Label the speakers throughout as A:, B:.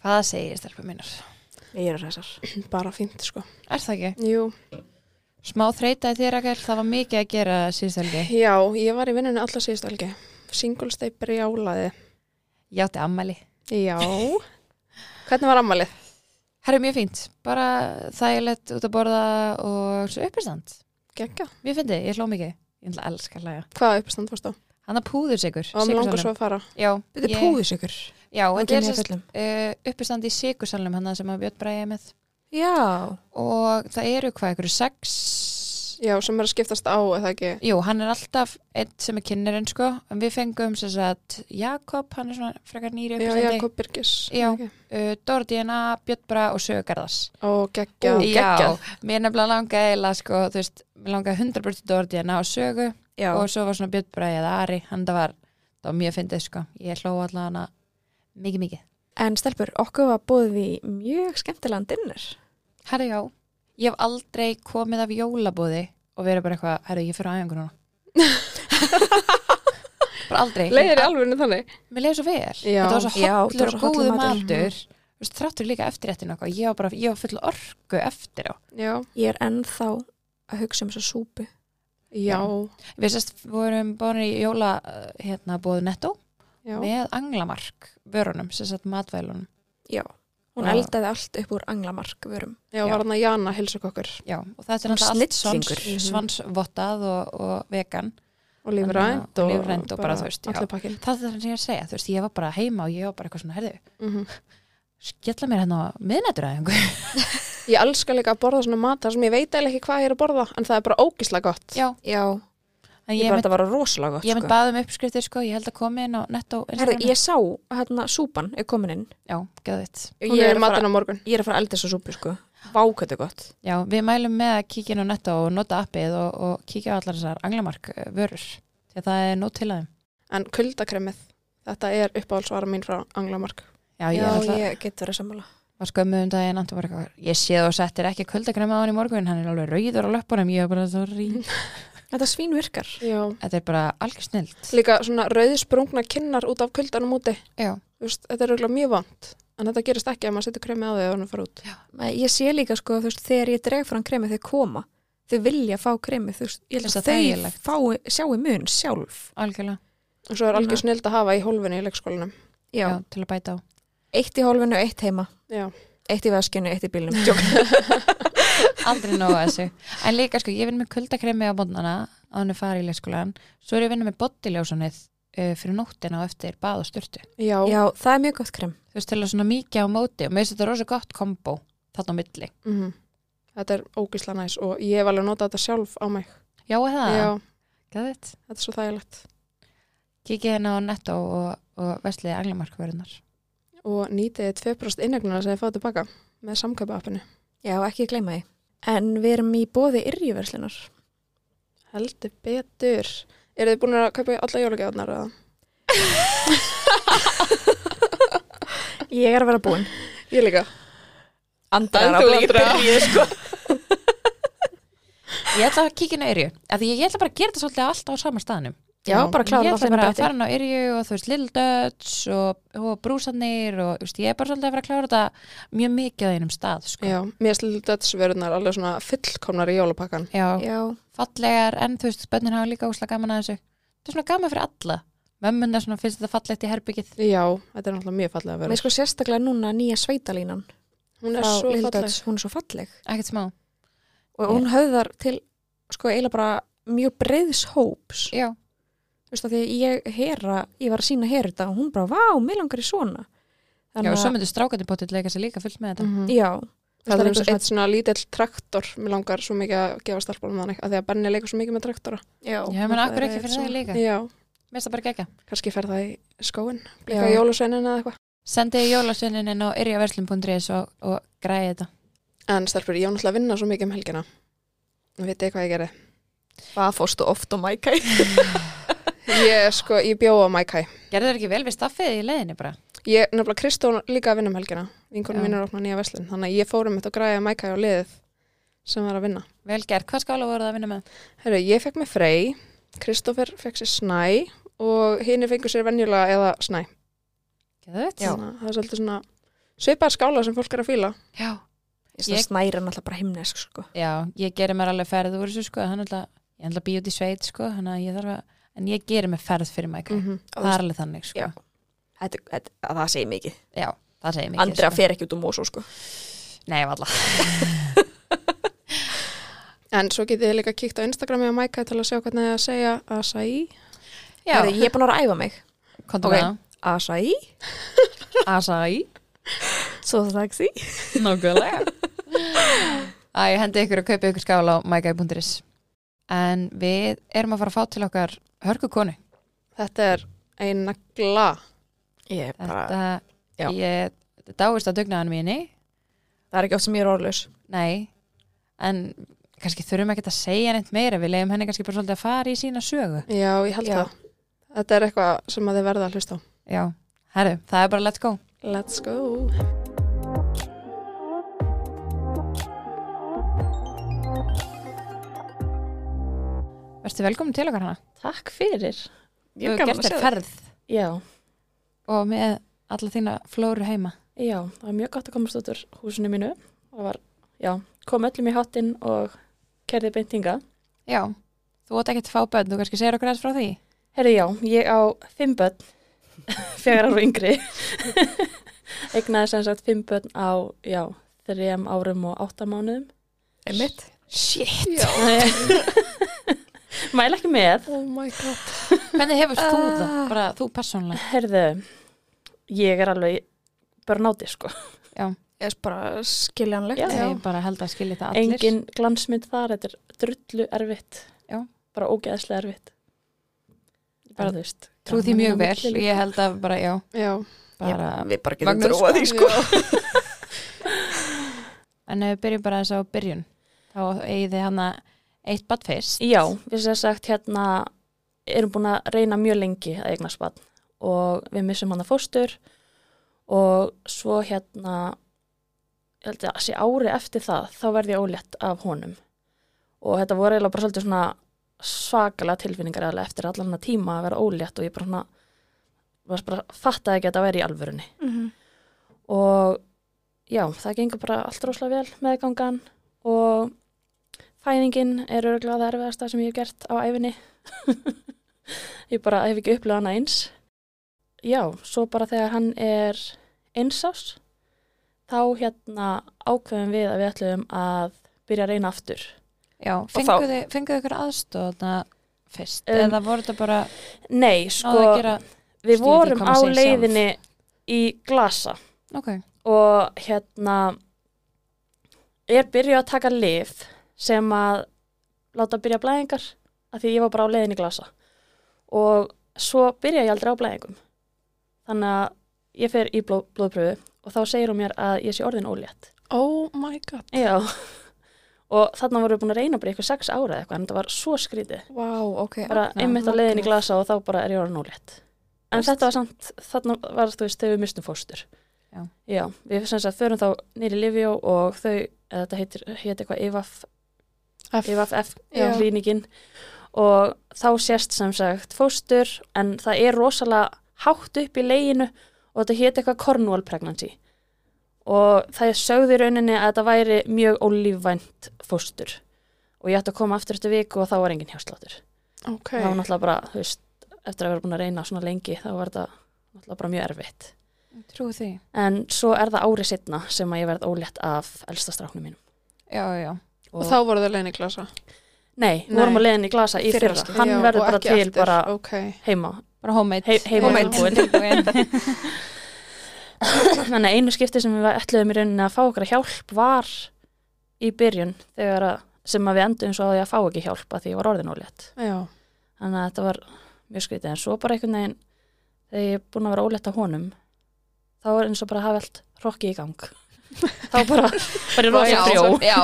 A: Hvað segir stelpum minnar?
B: Ég er þessar, bara fínt sko.
A: Er það ekki?
B: Jú,
A: Smá þreita í þér að það var mikið að gera síðustelgi.
B: já, ég var í vinnunni alltaf síðust algi. Singulstei brjálaði.
A: Ég átti ammæli.
B: Já. Hvernig var ammalið?
A: Herru, mjög fínt. Bara þægilegt út að borða og svo uppistand.
B: Gekka.
A: Mér finnst þið, ég hló mikið. Ég ætla að elska að hlæja.
B: Hvaða uppistand fórst á?
A: Hann er púðursikur.
B: Og mér langar svo að fara.
A: Já,
C: Þetta
A: ég-
C: er púðis ykkur.
A: Já, þetta er sérst,
C: sérst.
A: uh, uppistand í sigursalnum hann sem að Björn bræði með.
C: Já.
A: Og það eru hvað, ykkur sex...
B: Já, sem er að skiptast á eða ekki.
A: Jú, hann er alltaf einn sem er kynnerinn sko, en við fengum sem sagt Jakob, hann er svona frekar nýri
B: Já,
A: uppistandi.
B: Jakob Birgis.
A: Já.
B: Ok.
A: uh, Dóra Díana, Björn Bra og Sögarðars
B: Og gekka.
A: Já, mér nefnilega langaði eila sko, þú veist, mér langaði 100% Dóra Díana og hérna Sögu
C: Já.
A: og svo var svona Björn Bra eða Ari, hann það var það var mjög fyndið sko, ég hló allan hana mikið mikið.
C: En stelpur, okkur var búið í mjög skemmtilegan dinner.
A: Herra já, ég hef aldrei komið af jólabúði og verið bara eitthvað, herra ég fyrir aðjöngur núna bara aldrei
B: Leir í alvegni þannig.
A: Mér leiði svo vel,
B: Já.
A: þetta var svo
C: Já, þetta
A: hallur
C: var
A: og
C: svo hollur
A: góðu
C: matur.
A: matur Þú veist, þráttur líka eftirréttin okkar, ég var bara, ég var full orku eftir á.
B: Já.
C: Ég er ennþá að hugsa um þessa súpu.
B: Já.
A: Við sérst vorum bóðin í jóla uh, hérna bóðu netto
B: Já.
A: með anglamark vörunum, sem sagt matvælunum.
C: Já. Hún
A: Já.
C: eldaði allt upp úr anglamark vörum.
B: Já, var hann að Jana heilsugokkur
A: Já, og þetta er
C: Og
A: náttúrulega allt svans,
C: snillingur. Mhm.
A: svansvottað og, og vegan.
B: og lífrænt
A: Þannig að- og lífrænt og bara, þú veist, já.
B: allir pakkin.
A: Það er það sem ég er að segja, þú veist, ég var bara heima og ég var bara eitthvað svona, herðu,
B: Mm
A: skella mér hérna á miðnættur að einhver.
B: Ég elska líka að borða svona mat þar sem ég veit eiginlega ekki hvað ég er að borða en það er bara ógislega gott.
A: Já,
C: Já.
A: en ég,
C: Ég, bara
A: mynd,
C: þetta var rosalega gott,
A: ég mynd baða um uppskriftir, sko, ég held að koma inn á netto.
C: Herðu, ég sá hérna súpan er komin inn.
A: Já, geða þitt.
B: Hún
C: Ég
B: er í
C: er að fara-
B: matinn á morgun.
C: Ég er að fara að elda þessa súpu, sko. Vákvæði gott.
A: Já, við mælum með að kíkja inn á netta og nota appið og, og kíkja á allar þessar anglamark eh, vörur. Þegar það er nót til aðeim.
B: En kuldakremið, þetta er uppáhaldsvara mín frá Anglamark.
A: Já, ég er alltaf,
C: ég get verið sammála.
A: var skömmuð um daginn, Anton var eitthvað, ég sé þú settir ekki kuldagræma á hann í morgun, hann er alveg rauður á löppunum, ég er bara svo rí.
C: Þetta svín virkar.
B: Já.
A: Þetta er bara algjör snilt.
B: Líka svona rauðsprungna kinnar út af kuldanum úti.
A: Já,
B: Þú Veist, þetta er auðvitað mjög vant. En þetta gerist ekki að maður setur kremið á því að hann fara út.
C: Ég sé líka, sko, þú veist, þegar ég dreg fram kremið, þeir koma. Þau vilja fá kremið, þú veist, ég held
A: Finnst það
C: að þau
A: þægilegt?
C: fái, sjáu mun sjálf.
A: algjörlega.
B: Og svo er
C: Mhm.
B: algjör snild að hafa í hólfinu í leikskólinum.
A: Já.
C: Já.
A: til að bæta á.
C: Eitt í hólfinu, eitt heima.
B: Já.
C: Eitt í veskinu, eitt í bílnum. Jók.
A: Aldrei nóga þessu. En líka, sko, ég vinn með kuldagræmi á bóndana á hann er farið í leikskólan. Svo er ég vinn með bodiljósanið fyrir nóttina og eftir bað og styrtu.
B: Já.
C: Já, það er mjög gott krem.
A: Þú veist, til að svona mikið á móti og mér finnst þetta rosa gott kombo þarna á milli.
B: Mhm. Þetta er ógislega næs og ég hef alveg notað þetta sjálf á mig.
A: Já, er það.
B: Já.
A: Gæðið.
B: Þetta er svo þægilegt.
A: Kikið hérna á netto og, og vesliði anglamarkvörunar.
B: Og nýtiði 2% inneglunar sem þið fáið tilbaka með samkaupa appinu.
C: Já, ekki gleyma því. En við erum í bóði yrjuverslunar.
B: Heldur betur. Eru þið búin að kaupa alla jólagjafnar eða?
C: Ég er að vera búin.
B: Ég líka.
C: Andra
B: En þú, Andra.
C: byrjuð, sko.
A: Ég ætla að kíkja inn á Yrju. Af því ég ætla bara að gera þetta svolítið allt á sama staðnum.
C: Já, bara klára
A: Ég
C: það
A: ætla bara að
C: bæti.
A: fara inn á Yrju og þú veist Little Dutch og, og brúsanir og þú veist, ég er bara svolítið að fara að klára þetta mjög mikið á einum stað. Sko.
B: Já, mér slið dödsverðunar alveg svona fullkomnar í jólapakkan.
A: Já,
C: Já,
A: fallegar en þú veist, bönnin hafa líka úslega gaman að þessu. Þetta er svona gaman fyrir alla. Mömmunna svona finnst þetta fallegt í herbyggið.
B: Já, þetta er náttúrulega mjög fallega að vera.
C: með sko sérstaklega núna nýja sveitalínan.
B: Hún er
C: frá
B: svo
C: Lil
B: falleg.
C: Dodds, Hún er svo falleg.
A: Ekkert smá.
C: Og hún höfðar til, sko, eiginlega bara mjög breiðs hóps.
A: Já,
C: Þú veist að því að ég hera, ég var að sína hera þetta og hún bara, vá, mig langar í svona.
A: já og svo myndir strákandi bótið leika sér líka fullt með þetta.
B: Mhm.
C: Já,
B: Það er
C: eitthvað
B: eins og eitt svona lítill traktor, mér langar svo mikið að gefa stelpunum þannig, að því að Benni leikur svo mikið með traktora.
C: Já,
A: Já, menn akkur ekki fyrir það líka.
B: Já,
A: Mér finnst það bara gegja.
B: kannski fer það í skóin,
C: Já.
B: blika jólusveinin eða eitthvað.
A: Sendiði jólasveinin inn á yrjaverslun.is og, og græði þetta.
B: En stelpur, ég á náttúrulega að vinna svo mikið um helgina. Vitið þið hvað ég gerði?
C: Hvað fórstu oft á mækæ?
B: Ég, sko, ég bjóða á Mækæ.
A: Gerður þér ekki vel við staffið í leiðinni bara?
B: Ég, nefnilega Kristó líka að vinna um helgina. Vinkonum
A: Já.
B: mín er að opna nýja veslin. Þannig að ég fórum eitt og græja Mækæ á liðið sem var að vinna.
A: Vel gert, hvað skála voru það að vinna með?
B: Herru, ég fekk mér Frey, Kristófer fekk sér Snæ og hinn fengur sér venjulega eða Snæ.
A: Geðvett?
B: Þannig að Það er svolítið svona Svipaða skála sem fólk er að fíla.
A: já,
C: Ég snæra
A: Ég-
C: snæran alltaf bara himnesk sko.
A: já, ég gerir mér alveg ferð úr þessu sko, þannig að ég ætla að býja út í sveit sko, þannig að ég þarf að, en ég gerir mér ferð fyrir mæk,
B: -hmm.
A: það er alveg þannig sko,
C: Mhm. Já. Þetta, þetta, að það segir mikið.
A: já, það segir mikið
C: Andrea
A: sko.
C: fer ekki út um mósó sko.
A: Nei, valla,
B: En svo getið þið líka kíkt á Instagrami og Mæka til að sjá hvernig þið að segja acai.
A: já,
C: Herri, Ég er búin að vera að æfa mig.
A: kontum
C: Ok.
A: okay.
C: Acai,
A: það Asai,
C: svo sexy.
A: nákvæmlega Æ, ég hendi ykkur að kaupa ykkur skál á mækai.is En við erum að fara að fá til okkar hörku konu
B: Þetta er eina gla.
C: Ég er bara,
A: Þetta,
C: Ah, já.
A: ég þetta dáist að dugnaðan mínu
C: það er ekki oft sem ég er orðlaus.
A: Nei, en kannski þurfum ekki að segja neitt meira við leiðum henni kannski bara svolítið að fara í sína sögu
B: Já, ég held
C: Já.
B: það. Þetta er eitthvað sem að þið verða að hlusta á.
A: Já, herru, það er bara let's go
B: Let's go.
A: Verstu velkomin til okkar hana
D: Takk fyrir.
A: Þú
C: Ég
A: hefur
C: er gaman
A: gert þér
C: að segja það.
A: ferð
D: Já,
A: og með alla þína flóru heima
D: já, það var mjög gott að komast út úr húsinu mínu. Það var, já, kom öllum í hátinn og kerði beintinga.
A: Já, þú átt ekki að fá börn, þú kannski segir okkur aðeins frá því
D: Herri, já, ég á fimm börn, fjögur ára og yngri. Egnaði sem sagt fimm börn á, já, þrejum árum og átta mánuðum.
C: Einmitt.
A: Shit,
D: Mæla ekki með.
B: Oh my god.
A: hvernig hefur þú það?
C: Ah.
A: Bara þú persónlega
D: Herðu, ég er alveg bara nátið, sko.
C: Ég er bara skiljanlegt.
D: Já.
A: Ég bara held að skilja það allir
D: Engin glansmynd þar, þetta er drullu erfitt.
A: Já.
D: Bara ógeðslega erfitt. Bara,
A: Bara-
D: þú veist.
A: Trú því
D: gaman
A: mjög
D: inn á
A: vel,
D: milli líka.
A: ég held að bara, já
B: Já.
A: bara,
C: Við bara getum
A: Magnús,
C: trúað því sko.
A: En ef við byrjum bara þess á byrjun þá eigið þið hana eitt bad fyrst
D: Já, við sem sagt hérna erum búin að reyna mjög lengi að eignast barn og við missum hann að fóstur og svo hérna ég held að sé ári eftir það þá verði ég ólétt af honum og þetta voru eiginlega bara svolítið svona svakalega tilfinningar eiginlega eftir allan að tíma að vera ólétt og ég bara svona var bara fattaði ekki að þetta væri í alvörunni og já, það gengur bara allt rosalega vel meðgangan og fæðingin er örgulega það erfiðasta sem ég hef gert á æfinni ég bara hef ekki upplifað hana eins já, svo bara þegar hann er einsás þá hérna ákveðum við að við ætlum að byrja að reyna aftur
A: Já,
C: þá-
A: fenguðu þið- fenguðu ykkur aðstóð þarna fyrst
D: Um,
A: eða voru þetta bara
D: nei,
A: náðu að
D: sko,
A: gera Skil
D: við
A: ekki hvað
D: vorum á
A: maður segir sjálf.
D: leiðinni í glasa
A: Ok,
D: og hérna er byrjuð að taka lif sem að láta byrja blæðingar af því ég var bara á leiðin í glasa og svo byrja ég aldrei á blæðingum þannig að ég fer í blóð, blóðpröfu og þá segir hún mér að ég sé orðin ólétt
B: Oh my god.
D: Já og þarna vorum við búin að reyna bara í eitthvað sex ára eða eitthvað en þetta var svo skrítið
C: Vá, ok.
D: bara
A: Magnað,
D: einmitt á leiðin í
C: magnað.
D: glasa og þá bara er ég orðin ólétt en þetta var samt, þarna var þú veist þegar við mistum fóstur
A: Já.
D: við sem sagt förum þá nýri Livjó og þau, eða þetta heitir, heitir eitthvað IVAF,
B: F.
D: IVAF
B: Já.
D: klíningin og þá sést sem sagt fóstur en það er rosalega hátt upp í leginu og þetta heitir eitthvað Cornwall pregnancy og það er sögð í rauninni að þetta væri mjög ólífvænt fóstur og ég ætti að koma aftur eftir viku og þá var engin hjásláttur
B: Ok.
D: það var náttúrulega bara, þú veist, eftir að vera búin að reyna svona lengi, þá var þetta náttúrulega bara mjög erfitt.
A: trúi því
D: En svo er það árið setna sem að ég verð ólétt af elsta stráknum mínum.
A: Já, já,
B: Og þá voru þau leiðin í glasa.
D: Nei, við
B: Nei.
D: vorum að leiðin í glasa í
C: Fyrra,
D: fyrra.
C: sko.
D: Hann
B: Já,
D: verður
B: og
D: bara
B: ekki
D: til
B: eftir.
D: bara
B: Ok.
D: heima.
A: bara homemade
D: Hei- heima
A: Heima- tilbúin.
D: Þannig að einu skipti sem við ætluðum í rauninni að fá okkur hjálp var í byrjun þegar að, sem að við endum svo að ég að fá ekki hjálp að því ég var orðin ólétt.
B: Já.
D: þannig að þetta var mjög skrítið en svo bara einhvern veginn þegar ég er búin að vera óletta honum þá er eins og bara að hafa allt rokki í gang þá bara var ég rosa
C: Já.
D: frjó
A: Já,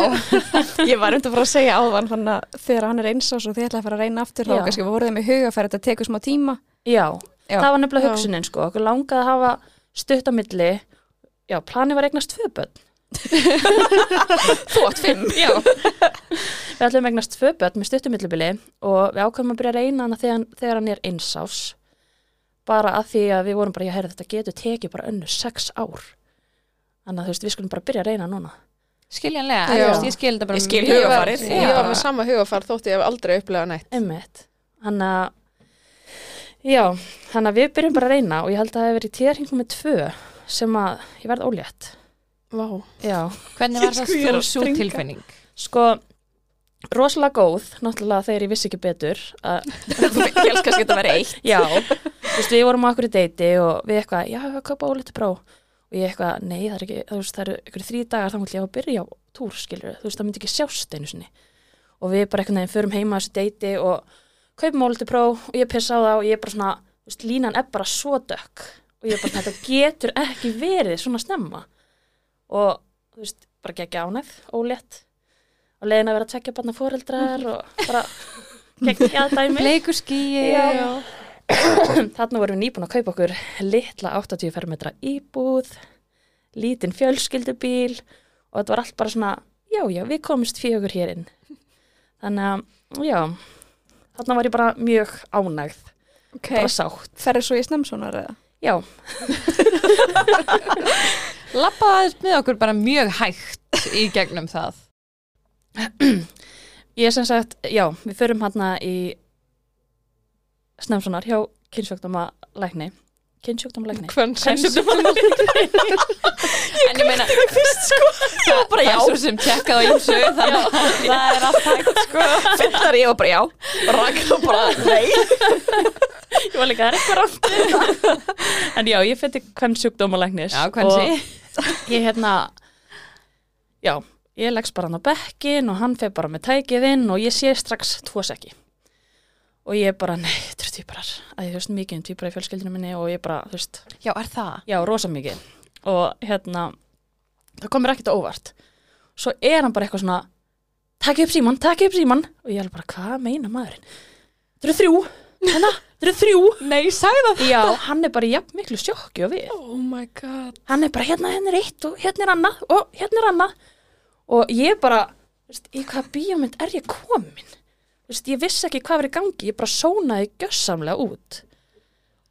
C: Ég var undir bara að segja áðan þannig að þegar hann er eins og þið ætlaði að fara að reyna aftur þá
D: Já.
C: kannski voruð þeim í hugafæri þetta tekur smá tíma.
D: já,
A: Já.
D: það var nefnilega
B: Já.
D: hugsunin sko okkur langaði að hafa stutt á milli já, planið var að eignast tvö börn
C: Þú átt fimm.
D: já við ætlum að eignast tvö börn með stuttum millibili og við ákvæmum að byrja að reyna hana þegar, þegar hann er einsás bara að því að við vorum bara, já, herri, þetta getur tekið bara önnu sex ár Þannig að þú veist, við skulum bara byrja að reyna núna.
A: skiljanlega,
B: Já.
A: þú veist, ég skil þetta bara
C: Ég skil
A: mjög vel.
C: hugarfarið.
A: Já.
B: Ég var með sama hugafar þótt ég hef aldrei upplegað neitt.
D: Einmitt. Þannig að, já, þannig að við byrjum bara að reyna og ég held að það hefur verið tíðarhingum með tvö sem að ég verð ólétt.
B: Vá.
D: Já.
A: hvernig var það
D: Sko, ég er
A: þú
D: að
A: svo
D: springa.
A: tilfinning
D: Sko, rosalega góð, náttúrulega þegar ég vissi ekki betur. Að,
C: Ég elskar að þetta verið eitt.
D: já, þú veist, við vorum á akkur í deiti og við eitthvað, já, við kaupa óléttu brá. Og ég eitthvað, nei, það er ekki, þú veist, það eru ykkur þrý dagar þá mútið ég á að byrja á túr, skilur þú veist, það myndi ekki sjást einu sinni. Og við bara einhvern veginn förum heima á þessu deiti og kaupum óléttu brá og ég pissa á það og ég er bara svona, þú veist, línan er bara svo dökk og ég er bara, svona, þetta getur ekki verið svona snemma. Og, þú veist, bara gekk ánæð, ólétt og leiðin að vera að tvekja barna fóreldrar og bara gekk að dæmi.
A: bleikur skýi
D: Já. Þarna vorum við nýbúin að kaupa okkur litla 80 fermetra íbúð, lítinn fjölskyldubíl og þetta var allt bara svona, já, já, við komumst fjögur hér inn. Þannig að, já, þarna var ég bara mjög ánægð,
C: Ok,
D: bara sátt.
C: ferðu svo í snemsonar eða?
D: Já,
A: lappaðist með okkur bara mjög hægt í gegnum það
D: ég sem sagt, já, við förum hérna í snemsonar hjá kynnsjókdóma lækni. Kynnsjókdóma lækni?
B: Hvern sem
A: en ég meina fyrst sko það er bara já svo sem tjekkað á ýmsu þannig að það er allt hægt sko
C: Fyllar ég og bara já.
D: Ragnar bara, nei Ég var líka, það er eitthvað rátt En já, ég fætti hvern sjúkdómalæknis
A: já, hvernig
D: Og ég hérna Já, ég leggst bara hann á bekkin og hann fer bara með tækið inn og ég sé strax tvo sekki og ég bara, nei, þetta eru tvíparar að ég þú veist mikið um tvíparar í fjölskyldinu minni og ég bara, þú veist,
A: já, er það
D: Já, rosa mikið. Og hérna, það komur ekkert á óvart. Svo er hann bara eitthvað svona, takk upp síman, takk upp síman. Og ég er bara, hvað meina maðurinn? Þetta eru þrjú, hérna, þetta eru þrjú.
A: nei, sagði það
D: Já, hann er bara í jafn miklu sjokki og við.
B: Oh my god.
D: Hann er bara, hérna, hérna er eitt og hérna er annað og hérna er annað. Og ég bara, þú veist, í hvaða bíómynd er ég komin? Þú veist, ég vissi ekki hvað var í gangi, ég bara sónaði gjössamlega út.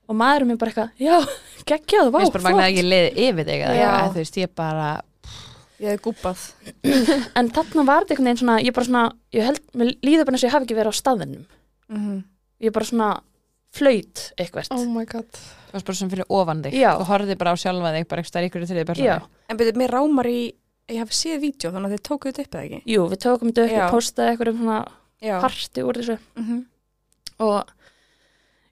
D: Og maðurinn minn bara eitthvað, já, geggjað, vá,
A: Mér spyr magna að
D: flott.
A: ég leiði yfir þig eða
C: Já.
A: eitthvað, en þú veist, ég bara
C: Ég hef gúpað.
D: en þarna var þetta einhvern veginn svona, ég bara svona, ég held, mér líður bara eins og ég hafi ekki verið á staðinum. Ég bara svona flöyt eitthvert.
B: Oh my god.
A: þú varst bara sem fyrir ofan þig
D: Já.
A: þú horfði bara á sjálfa þig bara eitthvað ykkur í þriði
D: Já,
A: persónu
C: En betur, mér rámar í, ég hef séð vídeo þannig að þið tókuðu þetta upp eða ekki?
D: jú, við tókum þetta upp
C: Já.
D: og postaði eitthvað um svona
C: Já.
D: parti úr þessu
C: Mm -hmm.
D: og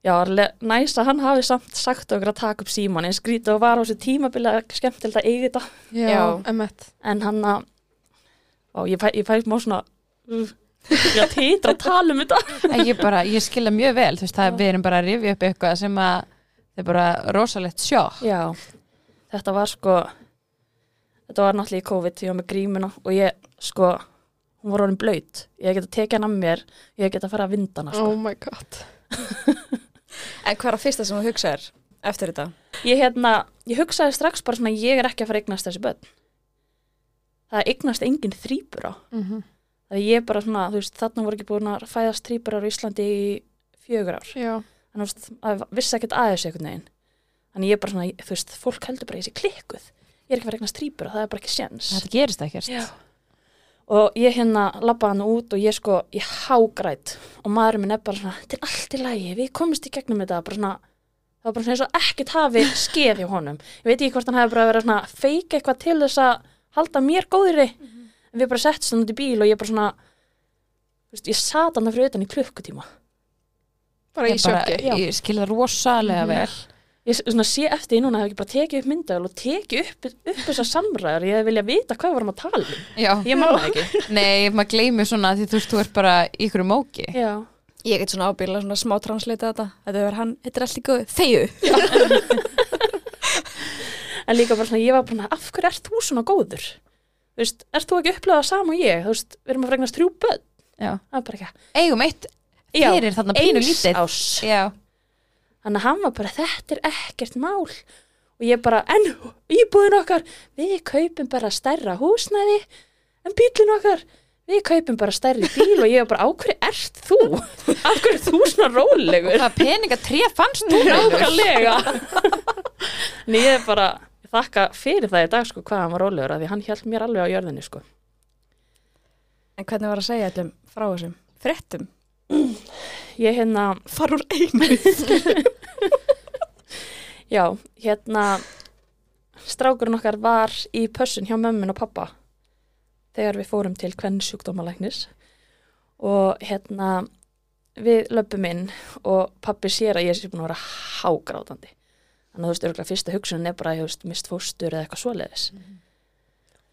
D: já, le- næs að hann hafi samt sagt okkur að taka upp síman en skrítið og var á þessu tímabili að skemmtilegt að eiga þetta
B: Já.
C: Já.
B: Emmett.
D: en hann að, ó, ég fæ, ég fæ má svona, uh, ég titra að tala um þetta.
A: En ég bara, ég skilja mjög vel þú veist, það
D: Já.
A: við erum bara að rifja upp eitthvað sem að það er bara rosalegt sjokk
D: Já, þetta var sko þetta var náttúrulega í COVID ég var með grímuna og ég sko hún var orðin blöyt, ég geta tekið hann af mér ég geta að fara að vinda hana sko.
B: Oh my god.
C: En hvað er að fyrsta sem þú hugsaðir eftir þetta?
D: ég, hérna, ég hugsaði strax bara svona ég er ekki að fara að eignast þessi börn það eignast engin þrýbura
B: Mhm.
D: það ég bara svona, þú veist, þarna voru ekki búin að fæðast þrýburar á Íslandi í fjögur ár
B: Já.
D: þannig að þú veist, að vissi ekkert aðeins einhvern veginn þannig ég bara svona, þú veist, fólk heldur bara að ég sé klikkuð ég er ekki að fara að eignast þrýbura, það er bara ekki sjens
A: Þetta gerist ekkert
D: Já. og ég hérna labbaði hann út og ég sko, ég hágræt og maðurinn minn er bara svona, þetta er allt í lagi við komumst í gegnum þetta, bara svona það var bara svona eins og ekkert hafi skeð hjá honum ég veit ekki hvort hann hefði bara verið að svona feika eitthvað til þess að halda mér góðri en við bara settum hann út í bíl og ég bara svona þú veist, ég sat hann fyrir utan í klukkutíma
B: Bara
A: Ég,
B: í
A: bara,
B: sjokki.
D: já.
A: ég skilja það rosalega
D: Mhm.
A: vel
D: ég s- svona sé eftir því núna hef ekki bara tekið upp myndavel og tekið upp, upp þessar samræður ég hefði viljað vita hvað við varum að tala um
A: Já,
D: ég manna ekki
A: nei, maður gleymir svona því þú veist, þú ert bara í ykkur móki
D: já
C: Ég get svona ábyrla svona smá translita þetta. Þetta er hann, þetta er allt í góðu. Þegu!
D: en líka bara svona, ég var bara, af hverju ert þú svona góður? Þú veist, ert þú ekki upplegað sama og ég? Þú veist, við erum að fregnast þrjú börn.
A: Já.
D: Það var bara ekki,
A: Eigum eitt
D: já,
A: fyrir þarna pínu
D: eins
A: lítið
D: ás.
A: Já,
D: Þannig að hann var bara, þetta er ekkert mál. Og ég bara, en íbúðin okkar, við kaupum bara stærra húsnæði, en bílin okkar, við kaupum bara stærri bíl og ég var bara, á hverju ert þú? Af hverju ert þú svona rólegur?
A: hvað peninga tré fannst þú?
D: Nákvæmlega. en ég er bara, þakka fyrir það í dag sko hvað hann var rólegur að því hann held mér alveg á jörðinni sko.
C: En hvernig var að segja allum frá þessum? Frettum?
D: Ég hérna,
C: Far úr einu?
D: já, hérna strákurinn okkar var í pössun hjá mömmin og pappa þegar við fórum til hvern sjúkdómalæknis og hérna við löpum inn og pappi sér að ég sé búin að vera hágrátandi þannig að þú veist, örgulega fyrsta hugsunin er bara, ég veist, mist fóstur eða eitthvað svoleiðis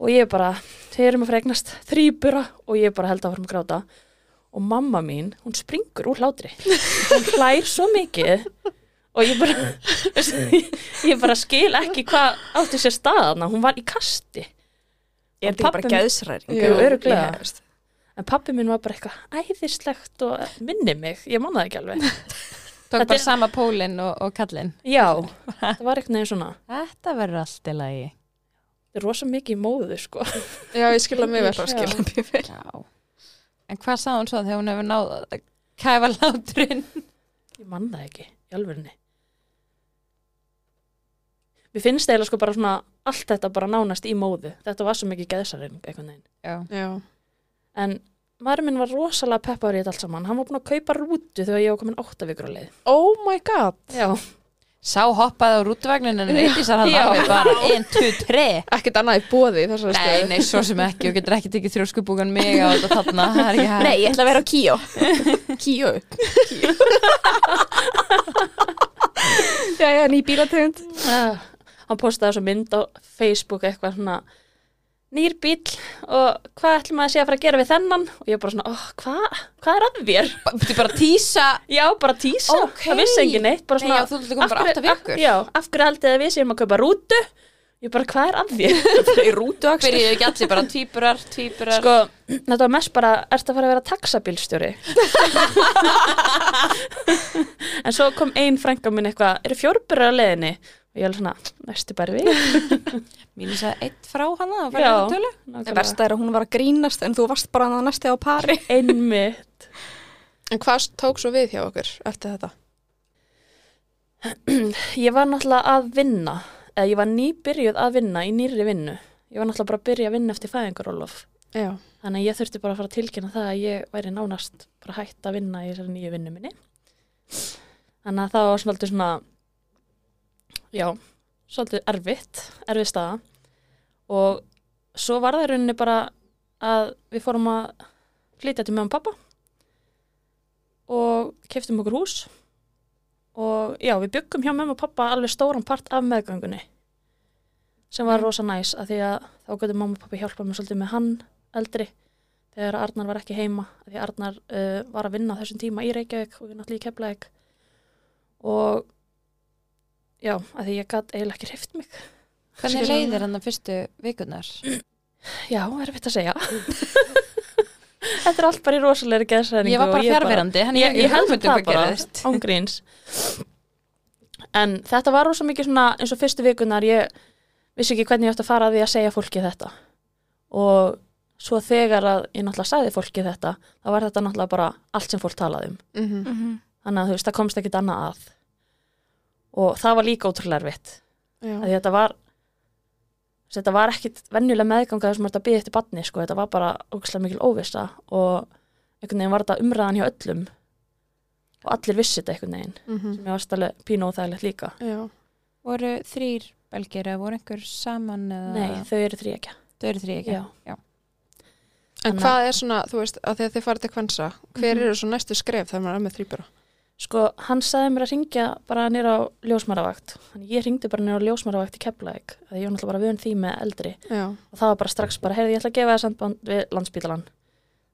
D: og ég bara, þau erum að fregnast þrýbura og ég bara held að varum að gráta og mamma mín, hún springur úr hlátri hún hlær svo mikið og ég bara ég, ég bara skil ekki hvað átti sér staðana, hún var í kasti
C: Er þetta
D: Og
C: ekki
D: pabbi
C: bara
D: minn-
C: gæðsræring?
D: Jú, örugglega. en pappi minn var bara eitthvað æðislegt og minni mig, ég manna það ekki alveg
A: Tók
D: Þetta
A: bara
D: er-
A: sama pólinn og, og kallinn.
D: já, það var eitthvað neginn svona
A: Þetta verður allt í lagi.
D: þetta er rosa mikið í móðu sko
B: Já, ég skilja mig vel.
D: bara skil.
C: skilja mjög vel.
A: Já. En hvað sá hún svo þegar hún hefur náð að kæfa láturinn?
D: ég manna það ekki, í alvörinni mér finnst eiginlega sko bara svona allt þetta bara nánast í móðu þetta var svo mikið geðsarinn einhvern veginn
A: Já.
B: Já.
D: en maður minn var rosalega peppar í þetta allt saman hann var búinn að kaupa rútu þegar ég var komin átta vikur á leið
B: Oh my god.
D: já,
A: Sá hoppaði á rútuvagnin en reyndisar hann
D: Já.
A: alveg bara 1, 2, 3.
B: Ekkert annað í bóði í þessari
A: Nei,
B: stöðu.
A: nei, svo sem ekki. Þú getur ekki tekið þrjóskubúkan mig á þetta þarna. Það er ekki hægt.
C: Nei, ég ætla að vera á kíó. kíó. já, já, ný bílategund.
D: Ah, hann postaði svo mynd á Facebook eitthvað svona nýr bíl og hvað ætlum maður að sé að fara að gera við þennan og ég bara svona, oh, hvað hva er að þér?
A: Þú bara tísa.
D: Já, bara tísa,
A: Ókei.
D: það vissi engin neitt bara
A: Nei,
D: svona,
A: já, þú ætlum bara
D: af
A: átta
D: hverju-
A: vikur.
D: af- Já, af hverju haldið þið að við séum að kaupa rútu? Ég bara, hvað er að þér?
C: Í rútu axl.
A: Byrjuðu ekki allir bara tvíburar, tvíburar.
D: Sko, þetta var mest bara, ertu að fara að vera taxabílstjóri? en svo kom ein frænka minn eitthvað, eru fjórburar á leiðinni? Og ég er svona, næstu bara við.
A: Mínu sagði eitt frá hana og
D: Já.
A: færði hann tölu.
C: Það versta er að hún var að grínast en þú varst bara að næstu á pari.
D: Einmitt.
B: En hvað tók svo við hjá okkur eftir þetta?
D: Ég var náttúrulega að vinna eða ég var nýbyrjuð að vinna í nýri vinnu ég var náttúrulega bara að byrja að vinna eftir fæðingarólof
B: Já.
D: þannig að ég þurfti bara að fara að tilkynna það að ég væri nánast bara hætt að vinna í þessari nýju vinnu minni þannig að það var svolítið svona já, svolítið erfitt erfið staða og svo var það í rauninni bara að við fórum að flytja til mögum pappa og keftum okkur hús og já, við byggum hjá mömmu og pappa alveg stóran part af meðgöngunni sem var rosa næs að því að þá gæti mamma og pappi hjálpa mér svolítið með hann eldri þegar Arnar var ekki heima af því að Arnar uh, var að vinna á þessum tíma í Reykjavík og við náttúrulega í Keflavík og já, að því ég gæti eiginlega ekki hrift mig
A: Hvernig
D: Skilur
A: leiðir hann að fyrstu vikunar?
D: já, er veit að segja þetta er allt bara í rosalegri geðsræðingu
A: Ég var bara fjárverandi, hann ég,
D: ég, ég held
A: hugmynd um
D: það
A: hvað
D: bara
A: gerðist.
D: ángríns en þetta var rosa mikið svona eins og fyrstu vikunar ég vissi ekki hvernig ég átti að fara að því að segja fólki þetta og svo þegar að ég náttúrulega sagði fólki þetta þá var þetta náttúrulega bara allt sem fólk talaði um
B: Mhm.
D: þannig að þú veist, það komst ekkit annað að og það var líka ótrúlega erfitt
B: Já.
D: að því þetta var þetta var ekkit venjulega meðganga þessum þetta býði eftir badni sko, þetta var bara ógæslega mikil óvissa og einhvern veginn var þetta umræðan hjá öllum og allir vissi þetta einhvern veginn
B: Mhm.
D: sem ég varst alveg pínu óþægilegt líka
B: Já.
A: Voru þrýr belgir eða voru einhver saman eða?
D: nei, þau eru þrý ekki
A: Þau eru þrý ekki?
D: Já.
B: En
D: Þannig-
B: hvað er svona, þú veist, að þegar þið farið til kvensa, hver eru svo næstu skref þegar maður er með þrýbura?
D: sko, hann sagði mér að ringja bara nýra á ljósmaravakt þannig ég ringdi bara nýra á ljósmaravakt í Keflavík þegar ég var náttúrulega bara vön því með eldri
B: Já.
D: og það var bara strax bara, heyrði, ég ætla að gefa það samband við landspítalan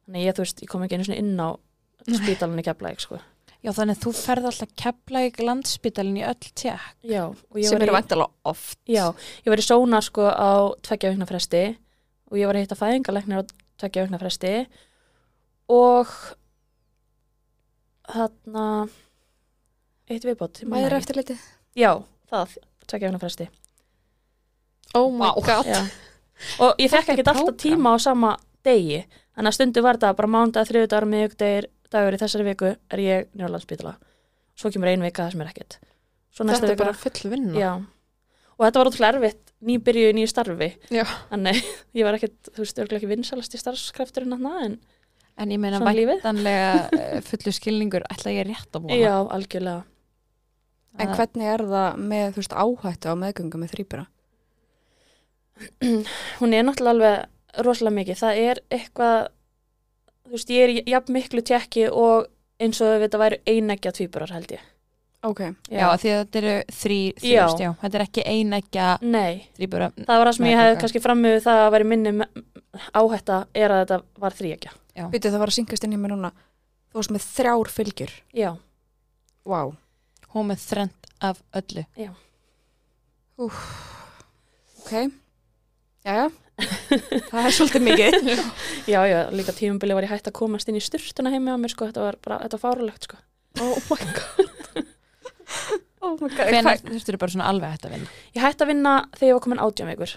D: þannig ég, þú veist, ég kom ekki einu svona inn á spítalan í Keflavík, sko
A: Já, þannig að þú ferð alltaf kepla í landspítalinn í öll tjekk.
D: já, og ég
C: Sem
D: var
C: eru
D: í-
C: vantilega oft.
D: Já, ég var í sóna sko á tveggja vikna fresti og ég var að hitta fæðingaleknir á tveggja vikna fresti og þarna eitt viðbót ég man
C: Mæður
D: það ekki.
C: eftir litið.
D: Já, það, tveggja vikna fresti
B: Oh my
A: Vá.
B: god.
D: Já. og ég fekk
A: Þetta er
D: ekkert alltaf
A: prógram.
D: tíma á sama degi þannig að stundu var þetta bara mánudag, þriðudagur, miðugdegir dagur í þessari viku er ég njörlandsbítala svo kemur ein vika það sem er ekkert svo næsta
B: Þetta er
D: vika hérna.
B: bara full vinna.
D: Já, og þetta var ótrúlega erfitt nýbyrju í nýju starfi
B: Já.
D: þannig ég var ekkert, þú veist, örgulega ekki vinsalasti starfskrafturinn hann en
A: En ég meina
D: Svona lífið.
A: væntanlega eh, fullur skilningur ætla ég rétt að búa.
D: já, algjörlega
C: En hvernig er það með þú veist, áhættu á meðgöngu með þrýbura?
D: hún er náttúrulega alveg rosalega mikið. Það er eitthvað, þú veist, ég er jafn miklu tjekki og eins og þetta væri einægja tvíburar held ég.
C: Ok,
A: Já, já því að þetta eru þrý,
D: Já.
A: þrýst, já. Þetta er ekki einægja
D: Nei,
A: þrýbura.
D: það var það sem ég
A: Meðganga.
D: hefði kannski framöfu það að væri minni me- áhætta er að þetta var þrýægja.
C: býtu það var að syngast inn í mér núna. Þú varst með þrjár fylgjur.
D: Já,
C: Vá. Wow.
A: Hún með þrend af öllu.
C: Ok, jæja. það er svolítið mikið.
D: já, já, líka tímumbili var ég hætt að komast inn í styrtuna heimi á mér, sko, þetta var bara, þetta var fárulegt, sko.
C: Oh my god. Oh my god.
A: Hvenær þurftur bara svona alveg hægt að vinna?
D: Ég hætti að vinna þegar ég var komin átján vikur.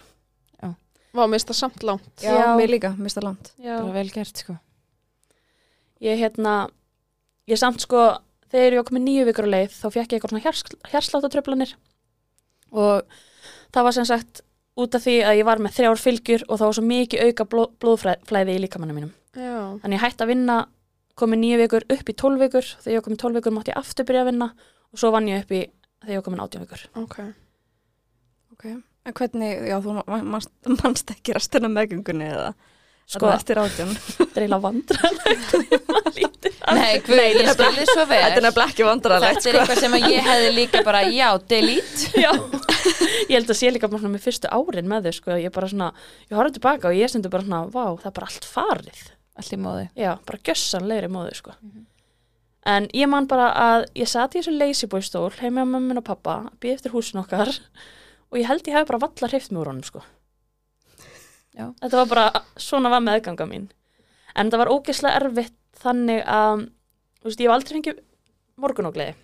B: Vá, mér finnst það samt langt.
C: Já,
D: Já.
C: mér líka, mista land.
D: Já.
A: Bara vel gert, sko.
D: Ég hérna, ég samt sko, þegar ég var komin níu vikur á leið, þá fekk ég eitthvað svona hjars, hjarsláttatröflanir og það var sem sagt út af því að ég var með þrjár fylgjur og það var svo mikið auka bló, blóðflæði í líkamannu mínum.
B: Já.
D: Þannig ég hætti að vinna, komin níu vikur upp í tólf vikur, þegar ég var komin tólf vikur mátti ég aftur byrja að vinna og svo vann ég upp í þegar ég var komin átján vikur.
B: Ok.
C: Ok. En hvernig, já, þú ma- manst, manst ekki rastina meðgöngunni eða?
D: Sko,
C: Þarna eftir átján.
D: þetta er eiginlega vandræðilegt.
A: Nei, guð, ég spilði svo vel.
C: Þetta er nefnilega ekki vandræðilegt,
A: Þetta er
C: sko.
A: eitthvað sem að ég hefði líka bara, já, delete.
D: Já, ég held að sé líka bara svona með fyrstu árin með þau, sko, ég bara svona, ég horfði tilbaka og ég stendur bara svona, vá, það er bara allt farið.
A: Allt í móðu.
D: Já, bara gjössanlegri móðu, sko.
A: Mhm.
D: En ég man bara að ég sat í þessu leysibóistól heima á mömmin og pappa, býð eftir húsin okkar og ég held ég hef bara valla hreift með úr honum, sko.
A: Já.
D: Þetta var bara, svona var meðganga mín. En það var ógeðslega erfitt þannig að, þú veist, ég hef aldrei fengið morgun og gleði.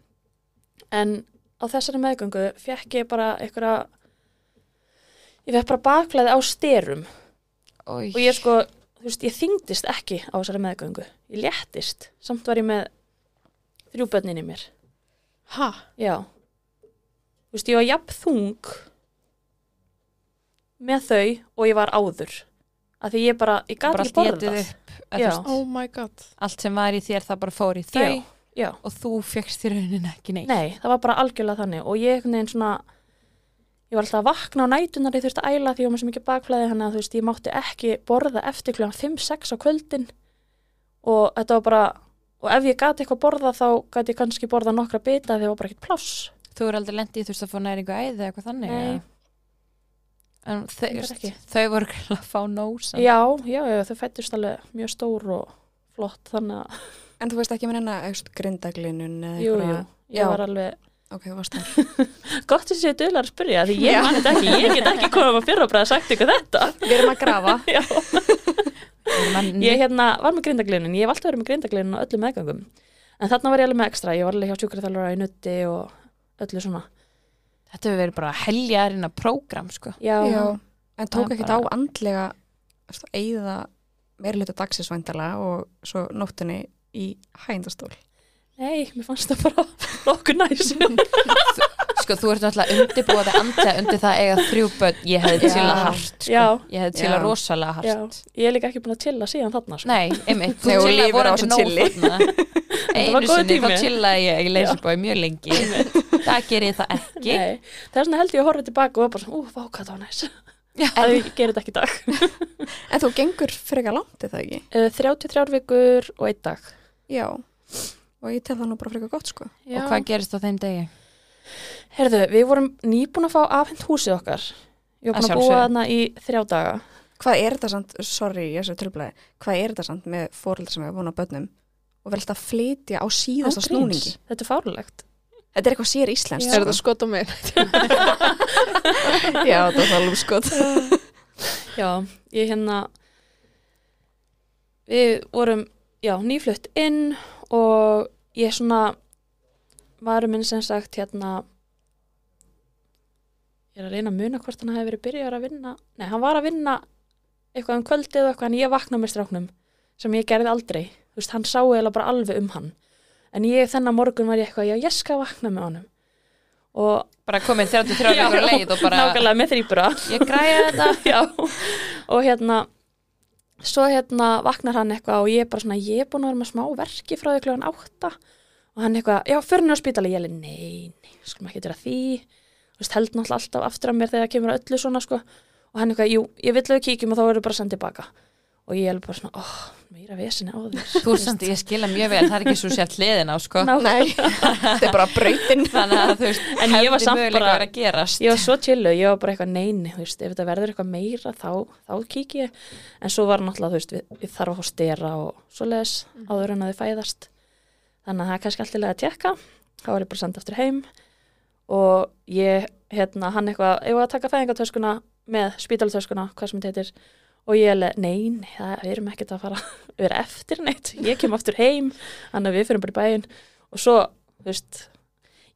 D: En á þessari meðgangu fekk ég bara einhverja, ég fekk bara baklæði á styrum og ég sko, þú veist, ég þyngdist ekki á þessari meðgöngu, ég léttist samt var ég með þrjú börnin í mér,
B: Ha?
D: já þú veist, ég var jafn þung með þau og ég var áður af því ég bara, ég gat
A: Bara
D: ekki
A: allt
D: borðað
A: étið upp. eða
D: Já.
A: þú veist,
B: Oh my god.
A: Allt sem var í þér það bara fór í þau
D: Já, já.
A: og þú fegst þér raunin ekki neitt.
D: nei, það var bara algjörlega þannig og ég einhvern veginn svona ég var alltaf að vakna á nætunar, ég þurfti að æla því ég var með svo mikið bakflæði hann að þú veist, ég mátti ekki borða eftir kljóðan 5-6 á kvöldin og þetta var bara og ef ég gati eitthvað borða þá gati ég kannski borða nokkra bita því það var bara ekkert pláss
A: Þú er aldrei lendið, þú veist að fá næringu æði eða eitthvað þannig.
D: Nei.
A: eða? En
D: Reyndar
A: þau,
D: ekki.
A: þau voru greinilega að fá nósan.
D: já, já, já, þau fættist alveg mjög stór og flott þannig að,
C: En þú veist ekki með hennar, eða grindaglinnun eða
D: jú, jú, ég
C: já.
D: var alveg
C: Ok, þú varst það.
D: gott þessi dölar að spyrja því ég man þetta ekki, ég get ekki komið að fyrra og bara sagt ykkur þetta
C: Við erum að grafa.
D: já
A: Man,
D: ég hérna var með grindagliðunin, ég hef alltaf verið með grindagliðunin á öllum meðgangum en þarna var ég alveg með ekstra, ég var alveg hjá sjúkraþjálfara í nutti og öllu svona
A: Þetta hefur verið bara heljarinn að prógram, sko.
D: já,
C: Já. En
A: Það
C: tók
A: er
C: ekkert á
A: bara-
C: andlega, þú veist, eigða meira hluta dagsisvændala og svo nóttinni í hægindastól.
D: nei, mér fannst það bara nokkuð næs
A: Sko, þú ert náttúrulega undirbúið að andja undir það að eiga þrjú börn. Ég hefði
C: Já.
A: tjilað hart, sko.
D: já,
A: Ég hefði tjilað
C: Já.
A: rosalega hart.
D: já, ég er líka ekki búin að chilla síðan þarna sko.
A: Nei, einmitt,
C: Nei,
A: þú
C: og
A: chillaði
C: lifir á
A: vorandi
C: þessu
A: nóg
C: chilli.
A: þarna.
D: var
A: Einu
D: góður
A: sinni þá
D: tími.
A: chillaði ég í leysibói mjög lengi Það gerir ég það ekki
D: Nei. það er svona held ég að horfa tilbaka og var bara svona, ú, vá, hvað það var næs
A: Já.
D: að ég gerir þetta ekki í dag
C: En þú gengur frekar langt, er það ekki?
D: Eh, 33 vikur og einn dag
C: Já. Og ég tel það nú bara frekar gott, sko.
D: já.
A: Og hvað gerist á þeim degi?
D: herðu, við vorum nýbúin að fá afhend húsið okkar ég
A: Að
D: var búin að búa
A: sjálfsögðu.
D: þarna í þrjá daga
C: Hvað er þetta samt, sorry, ég er svo tilblæði, hvað er þetta samt með fóröldar sem hefur búin á börnum og velst að flytja á síðasta
D: Án gríns.
C: snúningi?
D: þetta er fárulegt
C: Þetta er eitthvað sér íslenskt.
B: Er þetta skot á mig?
C: Já, þetta var alveg sko. skot.
D: Já, ég hérna við vorum já, nýflutt inn og ég svona varum minn sem sagt hérna ég er að reyna að muna hvort hann hefði verið byrjar að vinna nei, hann var að vinna eitthvað um kvöldið og eitthvað en ég vakna með stráknum sem ég gerði aldrei, þú veist, hann sá eða bara alveg um hann en ég þennan morgun var ég eitthvað, já, ég skal vakna með honum og
A: bara komin 33
D: Já,
A: vikur leið og bara
D: nákvæmlega með þrýbura
A: ég græði þetta
D: já, og hérna svo hérna vaknar hann eitthvað og ég er bara svona, ég er búin að vera með smá verki frá því kljóðan átta og hann eitthvað, já, fyrir niður á spítali, ég alveg, nei, nei, skulum ekki gera því þú veist, held náttúrulega alltaf aftur af mér þegar það kemur að öllu svona, sko og hann eitthvað, jú, ég vill að við kíkjum og þá erum bara sendið baka og ég er alveg bara svona, óh, meira vesinni á þér
A: þú samt, ég skila mjög vel, það er ekki svo sér hliðin á sko
D: Ná,
C: Nei, þetta er bara brautin
A: þannig að þú veist,
D: En ég var samt
A: möguleika
D: bara-
A: verið að gerast
D: ég var svo chillu, ég var bara eitthvað neini þú veist, ef þetta verður eitthvað meira þá, þá kík ég, en svo var náttúrulega þú veist, við, við þarf að fá stera og svoleiðis áður en að þið fæðast þannig að það er kannski alltaf að tekka þá var ég bara senda aftur heim og ég, hérna, hann eitthvað ég var að taka fæðingatöskuna með spítaltöskuna, hvað sem þetta heitir og ég alveg, nein, það við erum ekkert að fara að vera eftir neitt, ég kem aftur heim þannig að við fyrir bara í bæinn og svo, þú veist,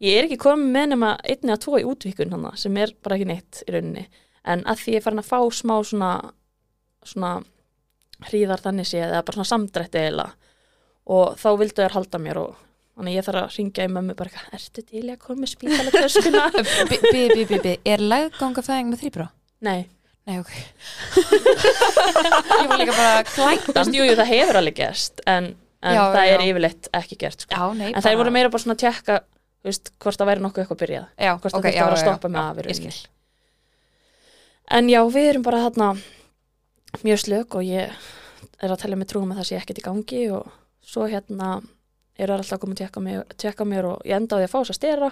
D: ég er ekki komin með nema einni að tvo í útvíkun hana, sem er bara ekki neitt í rauninni en að því ég er farin að fá smá svona svona hríðar þannig séð eða bara svona samdrætti eiginlega og þá vildu þær halda mér og þannig að ég þarf að ringja í mömmu bara eitthvað, ertu til í að koma með spítalatöskuna?
A: Bi- bi- bi- bi- bi- er lagganga fæðing með þrýbrá?
D: Nei,
A: Nei, ok Ég var líka bara
D: þú veist,
A: klæktan
D: jú, jú, það hefur alveg gerst en, en
A: Já,
D: það
A: já.
D: er yfirleitt ekki gert sko.
A: Já, nei,
D: en þær voru meira bara svona að tekka þú veist, hvort það væri nokkuð eitthvað byrjað
A: já,
D: hvort
A: ok,
D: okay,
A: já,
D: þetta var að
A: já,
D: stoppa
A: já,
D: með
A: já,
D: afur
A: ég skil.
D: en já, við erum bara þarna mjög slök og ég er að tala með trúum að það sé ekkert í gangi og svo hérna eru þær alltaf að koma að tekka mér, tekka mér og ég enda á því að fá þess að stera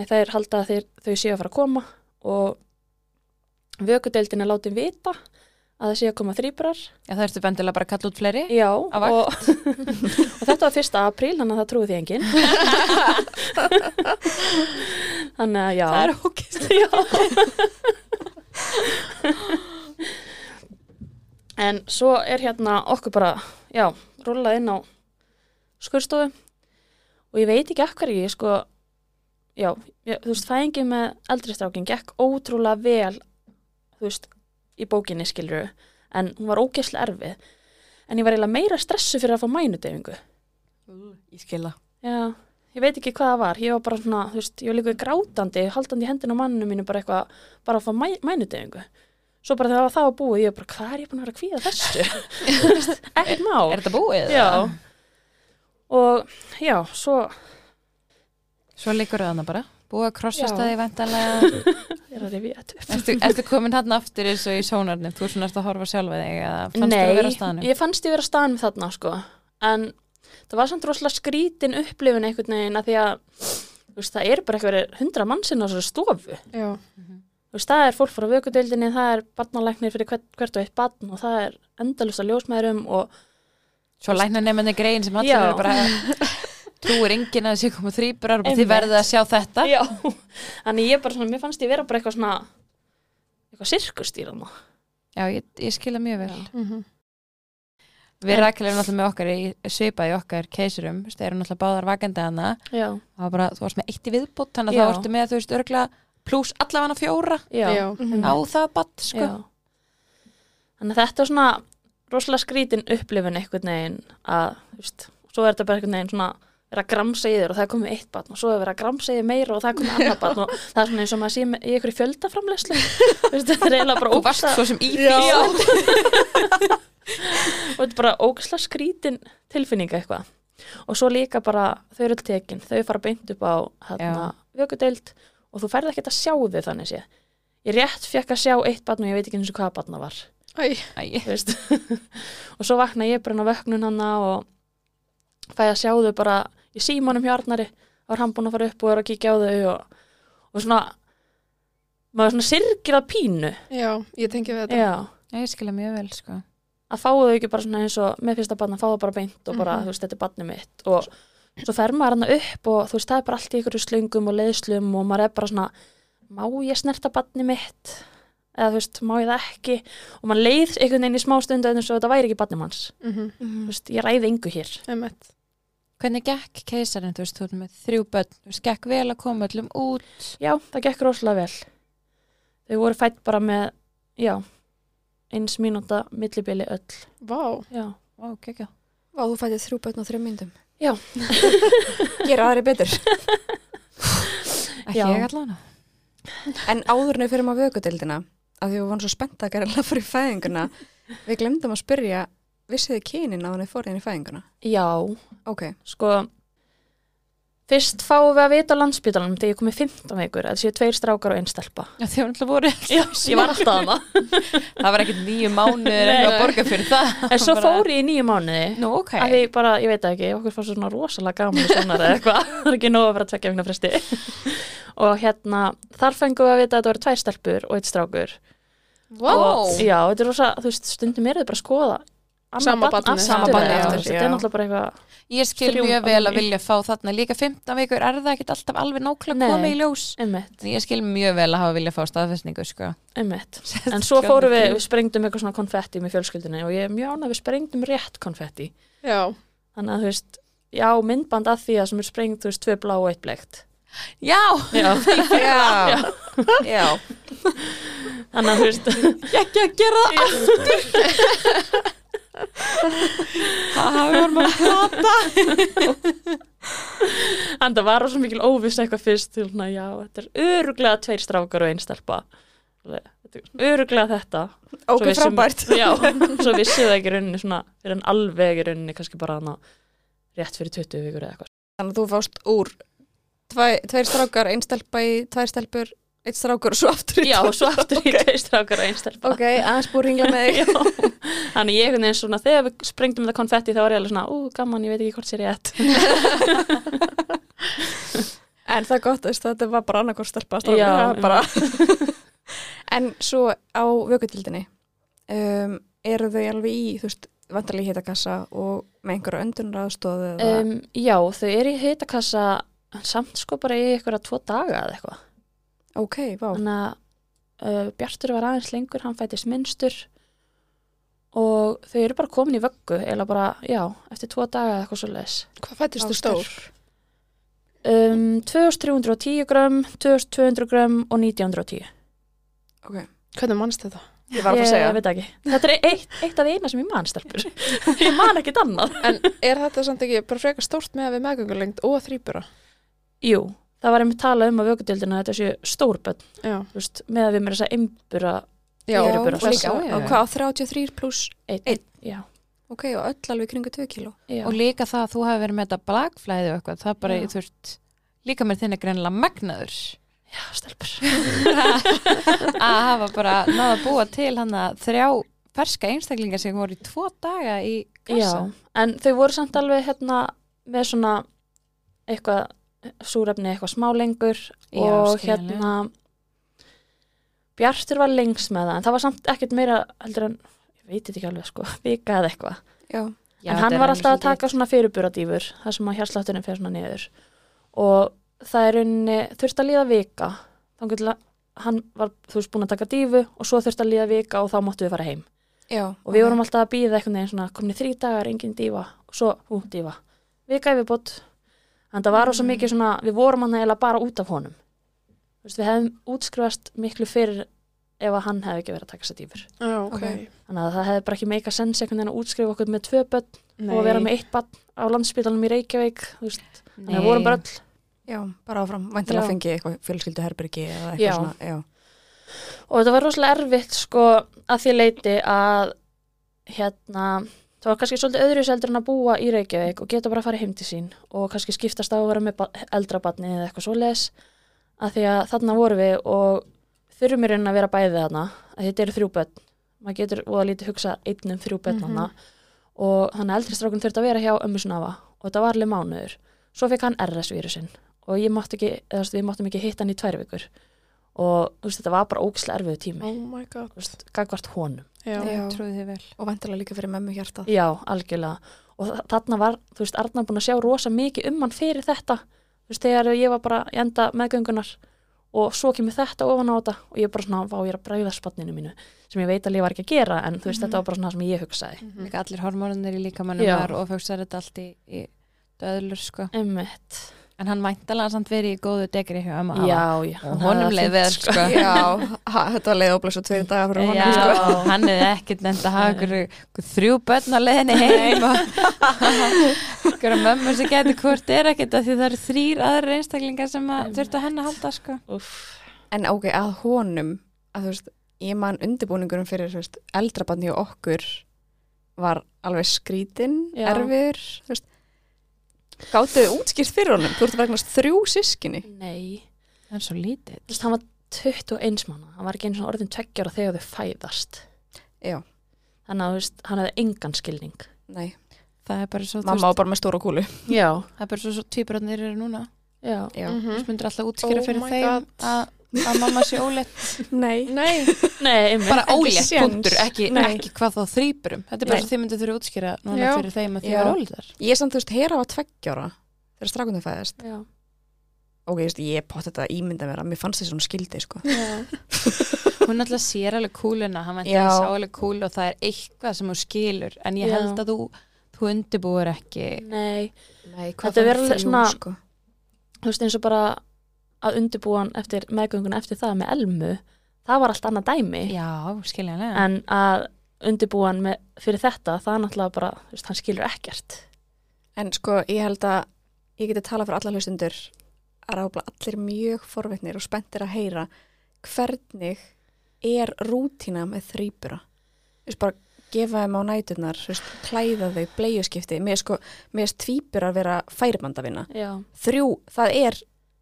D: en þær halda að þeir, þau séu að fara að koma og vökudeildin er látið vita að það séu að koma þrýbrar
A: Já, það ertu bendilega bara að kalla út fleiri
D: Já,
A: Á
D: og,
A: vakt.
D: og þetta var fyrsta apríl, þannig að það trúið því enginn. þannig að já.
A: Það er
D: ógist. Já. en svo er hérna okkur bara, já, rúlað inn á skurstofu og ég veit ekki af hverju, ég sko, já, ég, þú veist, fæðingi með eldri strákin gekk ótrúlega vel, þú veist, í bókinni skiluru, en hún var ógeðslega erfið en ég var eiginlega meira stressu fyrir að fá mænudefingu.
C: Ég skila
D: Já, ég veit ekki hvað það var, ég var bara svona, þú veist, ég var líka grátandi, haldandi í hendina á manninu mínu bara eitthvað, bara að fá mæ, mænudefingu. Svo bara þegar það var búið, ég var bara, hvað er ég búin að vera að kvíða þessu? Þú veist, Ekkert má.
A: Er þetta búið?
D: Já.
A: eða?
D: Og já, svo
A: Svo liggur það hana bara Búið að
D: Já.
A: krossast að þið væntanlega
D: er að rifja þetta upp.
A: Ertu, ertu komin hann aftur eins og í sónarnum Þú er svona eftir að horfa sjálfa þig eða fannst þér að vera á
D: Nei,
A: staðnum?
D: ég fannst ég vera á staðnum þarna sko en það var samt rosalega skrítin upplifun einhvern veginn að því að þú veist, það er bara eitthvað hundra mannsinn á þessari stofu
B: Já.
D: Þú veist, það er fólk frá vökudeildinni, það er barnalæknir fyrir hvert, hvert og eitt barn og það er endalusta ljósmæðurum og
A: Svo lækna nefnandi grein sem allir
D: Já.
A: eru bara Trúir enginn að þessi koma þrýbrar og
D: Einmitt.
A: þið verðið að sjá þetta
D: já, þannig ég bara svona, mér fannst ég vera bara eitthvað svona eitthvað sirkustýra maður.
A: Já, ég, ég skila mjög vel
B: Mhm.
A: Við rækilegum náttúrulega með okkar í svipaði okkar keisurum, þú veist, erum náttúrulega báðar vakandi hana
D: Já,
A: það var bara, þú varst með eitt í viðbútt þannig að
D: Já.
A: þá ertu með, þú veist, örgla pluss allavega fjóra
D: já, já.
B: Mhm.
A: á það batt, sko
D: Þannig að þetta er svona rosalega skrítin upplifun einhvern veginn að, þú veist, svo er þetta bara einhvern veginn svona vera að gramsa í þér og það er komið eitt barn og svo er vera að gramsa í þér meira og það er komið annað barn og það er svona eins og maður sé með- í einhverju fjöldaframlegslu þú veist, þetta er eiginlega bara
A: Þú varst
D: ógeðslega-
A: svo sem í því
D: Já. og þetta er bara ógæslega skrítin tilfinninga eitthvað og svo líka bara þau eru öll tekin, þau fara beint upp á hérna, vökudeild og þú færð ekkert að sjá þau þannig sé ég rétt fekk að sjá eitt barn og ég veit ekki eins og hvaða barn það var
B: Æ,
A: Æ,
D: þú veist. og svo vakna ég bara inn á vöknun hana og fæ að sjá þau bara í símanum hjá Arnari þá er hann búin að fara upp og er að kíkja á þau og, og svona maður svona sirgir að pínu
B: já, ég tengi við þetta.
D: já
A: Já, ég skilja mjög vel, sko
D: að fá þau ekki bara svona eins og með fyrsta barn að fá það bara beint og bara,
B: Mhm.
D: þú veist, þetta er barnið mitt og svo fer maður hann upp og þú veist, það er bara allt í ykkur slöngum og leiðslum og maður er bara svona má ég snerta barnið mitt eða þú veist, má ég það ekki og maður leið einhvern veginn í smá stundu eins og þetta væri ekki barnið manns
B: Mm -hmm.
C: Mhm.
D: þú veist, ég ræði yngu hér
B: Emmett.
A: Hvernig gekk keisarinn, þú veist, þú erum með þrjú börn þú veist, gekk vel að koma öllum út
D: já, það gekk rosalega vel þau voru fætt bara með, já eins mínúta millibili öll
B: Vá.
D: já,
A: Ó, gekkja
C: Vá, þú fættið þrjú börn á þrjum myndum
D: Já.
C: Gera aðri betur
A: Ekki
D: Já.
A: ég allan
C: En áðurinu fyrir maður vökudeildina að því við vorum svo spennt að gera fyrir fæðinguna við glemdum að spyrja vissið þið kynin á hann þið fórið inn í fæðinguna?
D: Já,
C: Ok,
D: sko fyrst fáum við að vita á landsbytalanum þegar ég komið 15 vikur að séu tveir strákar og einn stelpa
A: Já, þið var alltaf voru
D: Já, ég var alltaf að það
A: Það var ekkert nýju mánuður
D: Nei.
A: en að borga fyrir það
D: En svo
A: Bara-
D: fór ég í nýju mánuði
A: Nú, ok
D: að því bara, ég veit það ekki, okkur fannst svona rosalega gaman og svona eða eitthvað, það er ekki nóg að vera tvekja vegna fresti og hérna, þar fengum við að vita að þetta voru tvær stelpur og eitt strákur og, já, þetta er rosa, þú veist, stundum er þið bara að skoða annað
B: Sama
D: barn
B: barnið.
D: aftur,
B: Sama
C: barnið
D: eða,
C: aftur,
D: þú veist, þetta
C: já.
D: er náttúrulega bara eitthvað
A: Ég skil
D: Þrjú
A: mjög vel
D: ár
A: að
D: í.
A: vilja fá þarna líka 15 vikur er það ekkert alltaf alveg nákvæmlega
D: Nei.
A: komið í ljós
D: einmitt,
A: Þannig Ég skil mjög vel að hafa vilja fá staðfestningu sko.
D: einmitt en svo
A: Sjá
D: fórum við,
A: þrjú.
D: við sprengdum eitthvað svona konfetti með fjölskyldunni og ég er mjög án að við sprengdum rétt konfetti
B: já.
D: þannig að þú veist, já, myndband að því að sem er sprengt, þú veist, tvö blá og eitt bleikt
A: Já,
D: já,
C: já, já.
D: þannig að þú veist
A: ekki að gera það aftur Það hefur maður plata
D: En það var svo mikil óviss eitthvað fyrst til svona, já, þetta er öruglega tveir strákar og einn stelpa. Þetta er Öruglega þetta. Svo
C: ok,
D: vissum-
C: frábært
D: Já, svo vissið það ekki í rauninni svona, er hann alveg í rauninni kannski bara hana rétt fyrir 20 vikur eða eitthvað.
C: Þannig að þú fást úr tvæ, tveir strákar, einn stelpa í tvær stelpur einn strákur og svo aftur í
D: Já,
C: tvær.
D: og svo aftur í tveir strákar og einn stelpa.
C: Ok, aðeins búið ringla með þig
D: Já, þannig ég einhvern veginn svona, þegar við sprengdum þetta konfetti þá var ég alveg svona, ú, gaman, ég veit ekki hvort sér ég ett.
C: En það er gott, veist, þetta var bara annarkor stelpa strákur,
D: Já,
C: það
D: já.
C: var bara En svo á vökutildinni um, eru þau alveg í, þú veist, vantarlega í hitakassa og með einhverja öndunraðstóðu eða
D: Um, já, þau eru í heitakassa samt sko bara í eitthvað tvo daga eða eitthvað.
C: Ok, vá,
D: þannig að uh, Bjartur var aðeins lengur, hann fættist minnstur og þau eru bara komin í vöggu eða bara, já, eftir tvo daga eða eitthvað svo leis
B: Hvað fættist þú stór?
D: um, 2310 grömm, 2200 grömm og 1910
C: ok
B: Hvernig mannst þetta?
C: Ég var að fara að segja
D: ég veit það ekki, þetta er eitt, eitt af því eina sem ég man stelpur ég man ekkit annað
B: En er þetta samt ekki bara frekar stórt með að við meðgöngulengt og þrýbura?
D: Jú, það var einmitt talað um að vöggudildina þetta séu stórbönn,
B: Já.
D: þú veist, með að við mér þess að einbura
B: Já,
D: eru
C: og
D: bara
C: líka,
A: Já, já, já.
C: og hvað á 33 pluss,
D: einn,
C: Einn.
D: já,
C: ok, og öll alveg kringu 2 kíló
D: já.
A: Og líka það að þú hafi verið með þetta blagflæði og eitthvað Það bara,
D: Já.
A: þú veist, líka með þinn er greinlega magnaður
D: já, stelpur
A: að hafa bara náða að búa til hann að þrjá ferska einstaklingar sem voru í tvo daga í kassa.
D: Já, en þau voru samt alveg hérna með svona eitthvað súrefni eitthvað smá lengur
A: Já,
D: og
A: skiljanlega.
D: hérna Bjartur var lengst með það en það var samt ekkert meira heldur en ég veit þetta ekki alveg sko, vika eða eitthvað
C: Já,
A: Já,
D: en
A: þetta
D: hann
A: er alveg
D: var alltaf að
A: svolítið-
D: taka svona fyrirburadýfur þar sem að hjarslátturinn fer svona niður og það er unni þurft að líða vika þannig til að hann var þú veist búin að taka dýfu og svo þurft að líða vika og þá máttu við fara heim
C: já
D: og við vorum alltaf að býða einhvern veginn svona komin í þrý dagar, engin dífa og svo, ú, dífa, vika yfirbót en það var á svo
A: Mm.
D: mikið svona við vorum hann eiginlega bara út af honum Þú veist, við hefðum útskrifast miklu fyrir ef að hann hefði ekki verið að taka sér dífur
B: Já, ok.
D: þannig að það hefði bara ekki meika sens einhvern veginn að útskrifa okkur með tvö börn
B: Nei.
D: og vera með eitt barn á landspílanum í Reykjavík þú veist, þannig að
A: Nei.
D: við vorum bara öll
C: Já, bara áfram, væntanlega
D: Já.
C: fengið eitthvað fjölskyldu herbyrgi eða
D: Já.
C: eitthvað svona, já
D: og þetta var rosalega erfitt sko að því leiti að hérna, það var kannski svolítið öðru seldur en að búa í Reykjavík og geta bara að fara heim til sín og kannski skiptast á að vera með ba- eldra barni eða eitthvað svoleiðis að því að þarna vorum við og þurfum í raunin að vera bæðið þarna að þetta eru þrjú börn, maður getur og að lítið hugsa einn um þrjú börn
C: Mhm.
D: þarna og þannig að eldri strákun þurfti að vera hjá ömmu snafa og þetta var alveg mánuður svo fekk hann RS-vírusin og ég mátti ekki, eða, þú veist, við máttum ekki hitta hann í tvær vikur og þú veist, þetta var bara ógislega erfiðu tími
B: Oh my god.
D: þú veist, gagvart honum.
B: Já.
C: Já.
A: Trúði þið vel.
C: Og væntanlega líka fyrir memmu hjarta
D: Já, algjörlega. Og þa- þarna var, þú veist, Arnar búin að sjá rosa mikið um hann fyrir þetta. Þú veist, þegar ég var bara í enda meðgöngunar og svo kemur þetta ofan á þetta og ég bara svona, vá, ég er að bræða spanninu mínu sem ég veit alveg ég var ekki að gera en þú veist, þetta var bara svona það sem ég hugsaði.
A: Líka allir hormónunir í líkamannum
D: Mhm. Já.
A: var og fóksar þetta allt í, í döðlur sko.
D: Einmitt.
A: En hann væntalega samt verið í góðu degri hjá ömmu og afa.
D: Já, já.
A: Og honum leið vel, sko.
C: Já, ha, þetta leið óblöðs og tveir dagar fyrir honum, sko.
A: Já, hann hefði ekkert nefnt að hafa ykkur, ykkur þrjú börn á leiðinni heim og ykkur mömmu sem getur hvort er ekkert að því það eru þrýr aðra einstaklingar sem að þurftu að henni að halda sko.
D: Úff.
C: En ok, að honum, að þú veist, ég man undirbúningurum fyrir, þú veist, eldrabann hjá okkur var alveg skrítinn,
D: Já.
C: erfiður, þú veist, gáttuðu útskýrt fyrir honum, þú ert vegnast þrjú sískinni.
D: Nei.
A: Það er svo lítið.
D: Þú veist, hann var 21 mánu. Hann var ekki einu svona orðin tveggjara þegar þau fæðast.
C: Já.
D: Þannig að, þú veist, hann hefði engan skilning.
C: Nei,
A: Það er bara svo, þú
C: mamma á bara með stóra kúlu.
D: Já.
A: það er bara svo, svo tvíbröðnir eru núna.
D: Já.
C: Já.
A: Þú
B: Mhm.
A: myndir alltaf útskýra
B: Oh
A: fyrir
B: my
A: þeim
B: God.
A: að, að mamma sé ólétt.
C: Mm. Nei.
B: Nei,
D: Nei, einmitt.
A: Bara
C: Ekki
A: ólétt,
C: séns.
A: punktur, ekki,
C: Nei.
A: ekki hvað þá þrýburum. Þetta er bara
D: Nei.
A: svo þið myndir þurfa að útskýra núna
B: Já.
A: fyrir þeim að þið
C: Já.
A: eru óléttar.
C: Ég samt, þú veist, hera var tveggjára þegar strakundum fæðist.
D: Já.
C: Ok, ég, ég pott þetta að ímynda mér að mér fannst þess að hún skildi, sko.
A: Hún alltaf sér alveg kúluna, hann vænti
C: Já.
A: sá alveg kúlu og það er eitthvað sem hún skilur en ég
D: Já.
A: held að þú, þú undibúir ekki
D: Nei.
C: Nei,
D: hvað Þetta þá er verður þrjú, svona-
C: sko?
D: Þú veist, eins og bara að undirbúa hann eftir meðgönguna eftir það með elmu, það var allt annað dæmi.
A: Já, skiljanlega
D: En að undirbúa hann með, fyrir þetta, það er náttúrulega bara, þú veist, hann skilur ekkert.
C: En sko, ég held að ég geti talað fyrir alla hlustundur að ráfla allir mjög forvitnir og spenntir að heyra hvernig er rútina með þrýbura. Þú veist, bara gefa þeim á næturnar, þú veist, klæða þau, bleiuskipti. Mér sko, mér er tvíbura að vera færibandavinna.
D: Já.
C: Þrjú, það er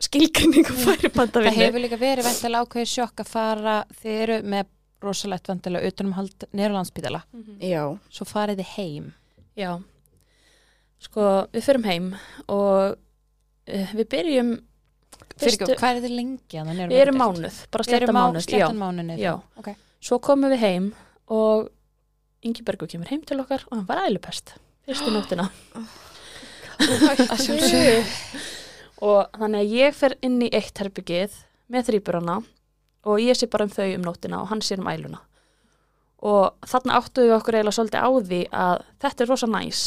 C: skilgrinning
D: Mm.
C: og
A: Það
C: færibandavinna.
A: hefur líka verið vantilega ákveðið sjokk að fara þið eru með rosalegt vantilega utanumhald niður á landspítala,
D: Mhm.
C: Já,
A: svo farið þið heim
D: Já. Sko, við förum heim og eh, við byrjum
A: Fyrir
D: Fyrstu-
A: hvað er þið lengi? að það niður á
D: Við erum
A: landsbyggðinni?
D: mánuð, bara
A: Þið eru
D: sletta mánuð.
A: Sléttan mánuð
D: Já.
A: Ok.
D: Svo komum við heim og Ingi Bergur kemur heim til okkar og hann var ælupest fyrstu nóttina.
A: Að sjálfsögðu.
D: og þannig að ég fer inn í eitt herbyggið með þrýburana og ég sé bara um þau um nóttina og hann sé um æluna. Og þarna áttuðu við okkur eiginlega svolítið á því að þetta er rosa næs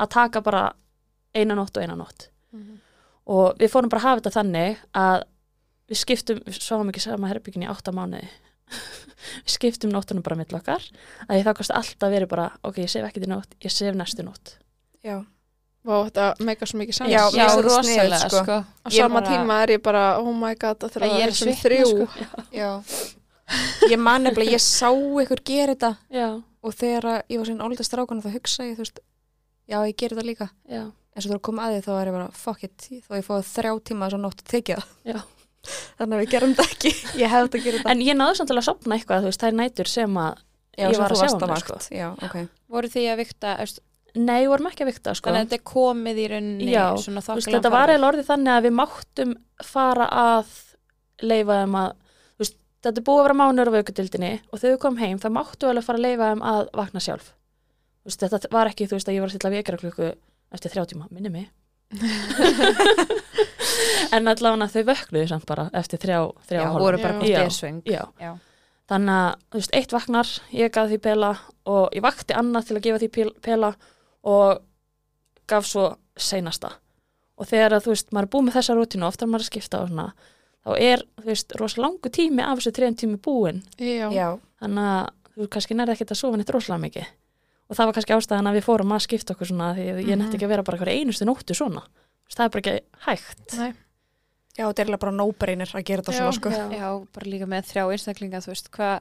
D: að taka bara eina nótt og eina nótt.
B: Mhm.
D: Og við fórum bara að hafa þetta þannig að við skiptum, við sáum ekki sama herbyggin í átta mánuði. við skiptum nóttunum bara mitt okkar. Að ég þá kosti alltaf verið bara, ok, ég sef ekki til nótt, ég sef næstu nótt.
C: já.
B: Vá, þetta meika svo mikið
C: Já,
B: sens.
A: Já,
C: mér finnst þetta sniðugt,
A: rosalega
C: sko.
A: sko.
B: Á
C: ég
B: sama
C: bara-
B: tíma er ég bara, oh my god, það þurfa
A: Ég
B: að
A: er
B: vera sem
A: svitna,
B: þrjú.
A: sko.
C: Já. Ég man nefnilega, ég sá ykkur gera þetta
D: Já,
C: og þegar að ég var síðan ólítið strákan þá hugsa ég, þú veist, já, ég gera þetta líka.
D: já,
C: en svo þú er að koma að því þá er ég bara fuck it, þá ég fóði þrjá tíma þess að nótt að tekja
D: já.
C: þannig að við gerum þetta ekki, ég hefði þetta að gera þetta
D: En ég náðu samt alveg að sopna eitthvað, þú veist, það er nætur sem að
C: já,
D: ég
C: svo
D: var að
C: þú
D: sjá
C: varst á
D: hana,
C: vakt, já, ok
A: Voru þið að vikta, eftir,
D: Nei, við vorum ekki að vikta, sko.
A: þannig að þetta er komið í rauninni
D: Já,
A: svona
D: Þú veist,
A: þokkalega
D: þetta var eiginlega orðið þannig að við máttum fara að leifa þeim að, þú veist, þetta er búið að vera mánuður á vökudildinni og þegar við komum heim þá máttum við alveg fara að leifa þeim að vakna sjálf. Þú veist, þetta var ekki, þú veist, að ég var að stilla vekjara klukku eftir þrjá tíma, minni mig. en allavega þau vöknuðu samt bara eftir þrjá, þrjá
A: Já,
D: og hálfa.
A: voru bara
B: Já.
A: hvort er svöng
D: Já.
A: Já.
D: Þannig að, þú veist, eitt vaknar, ég gaf því pela og ég vakti annað til að gefa því pel- pela og gaf svo seinasta. Og þegar að, þú veist, maður er búið með þessa rútinu, ofta er maður að skipta og svona, þá er, þú veist, rosa langu tími af þessu trefn tími búin.
B: Já.
C: já,
D: Þannig að þú kannski nærði ekkert að sofa neitt rosalega mikið. Og það var kannski ástæðan að við fórum að skipta okkur svona því að ég nætti ekki að vera bara hverja einustu nóttu svona. Þú veist, það er bara ekki hægt.
B: Nei.
C: já, þetta er eiginlega bara nóbreinir að gera þetta
B: Já.
C: svona sko
A: Já, bara líka með þrjá einstaklinga, þú veist, hvað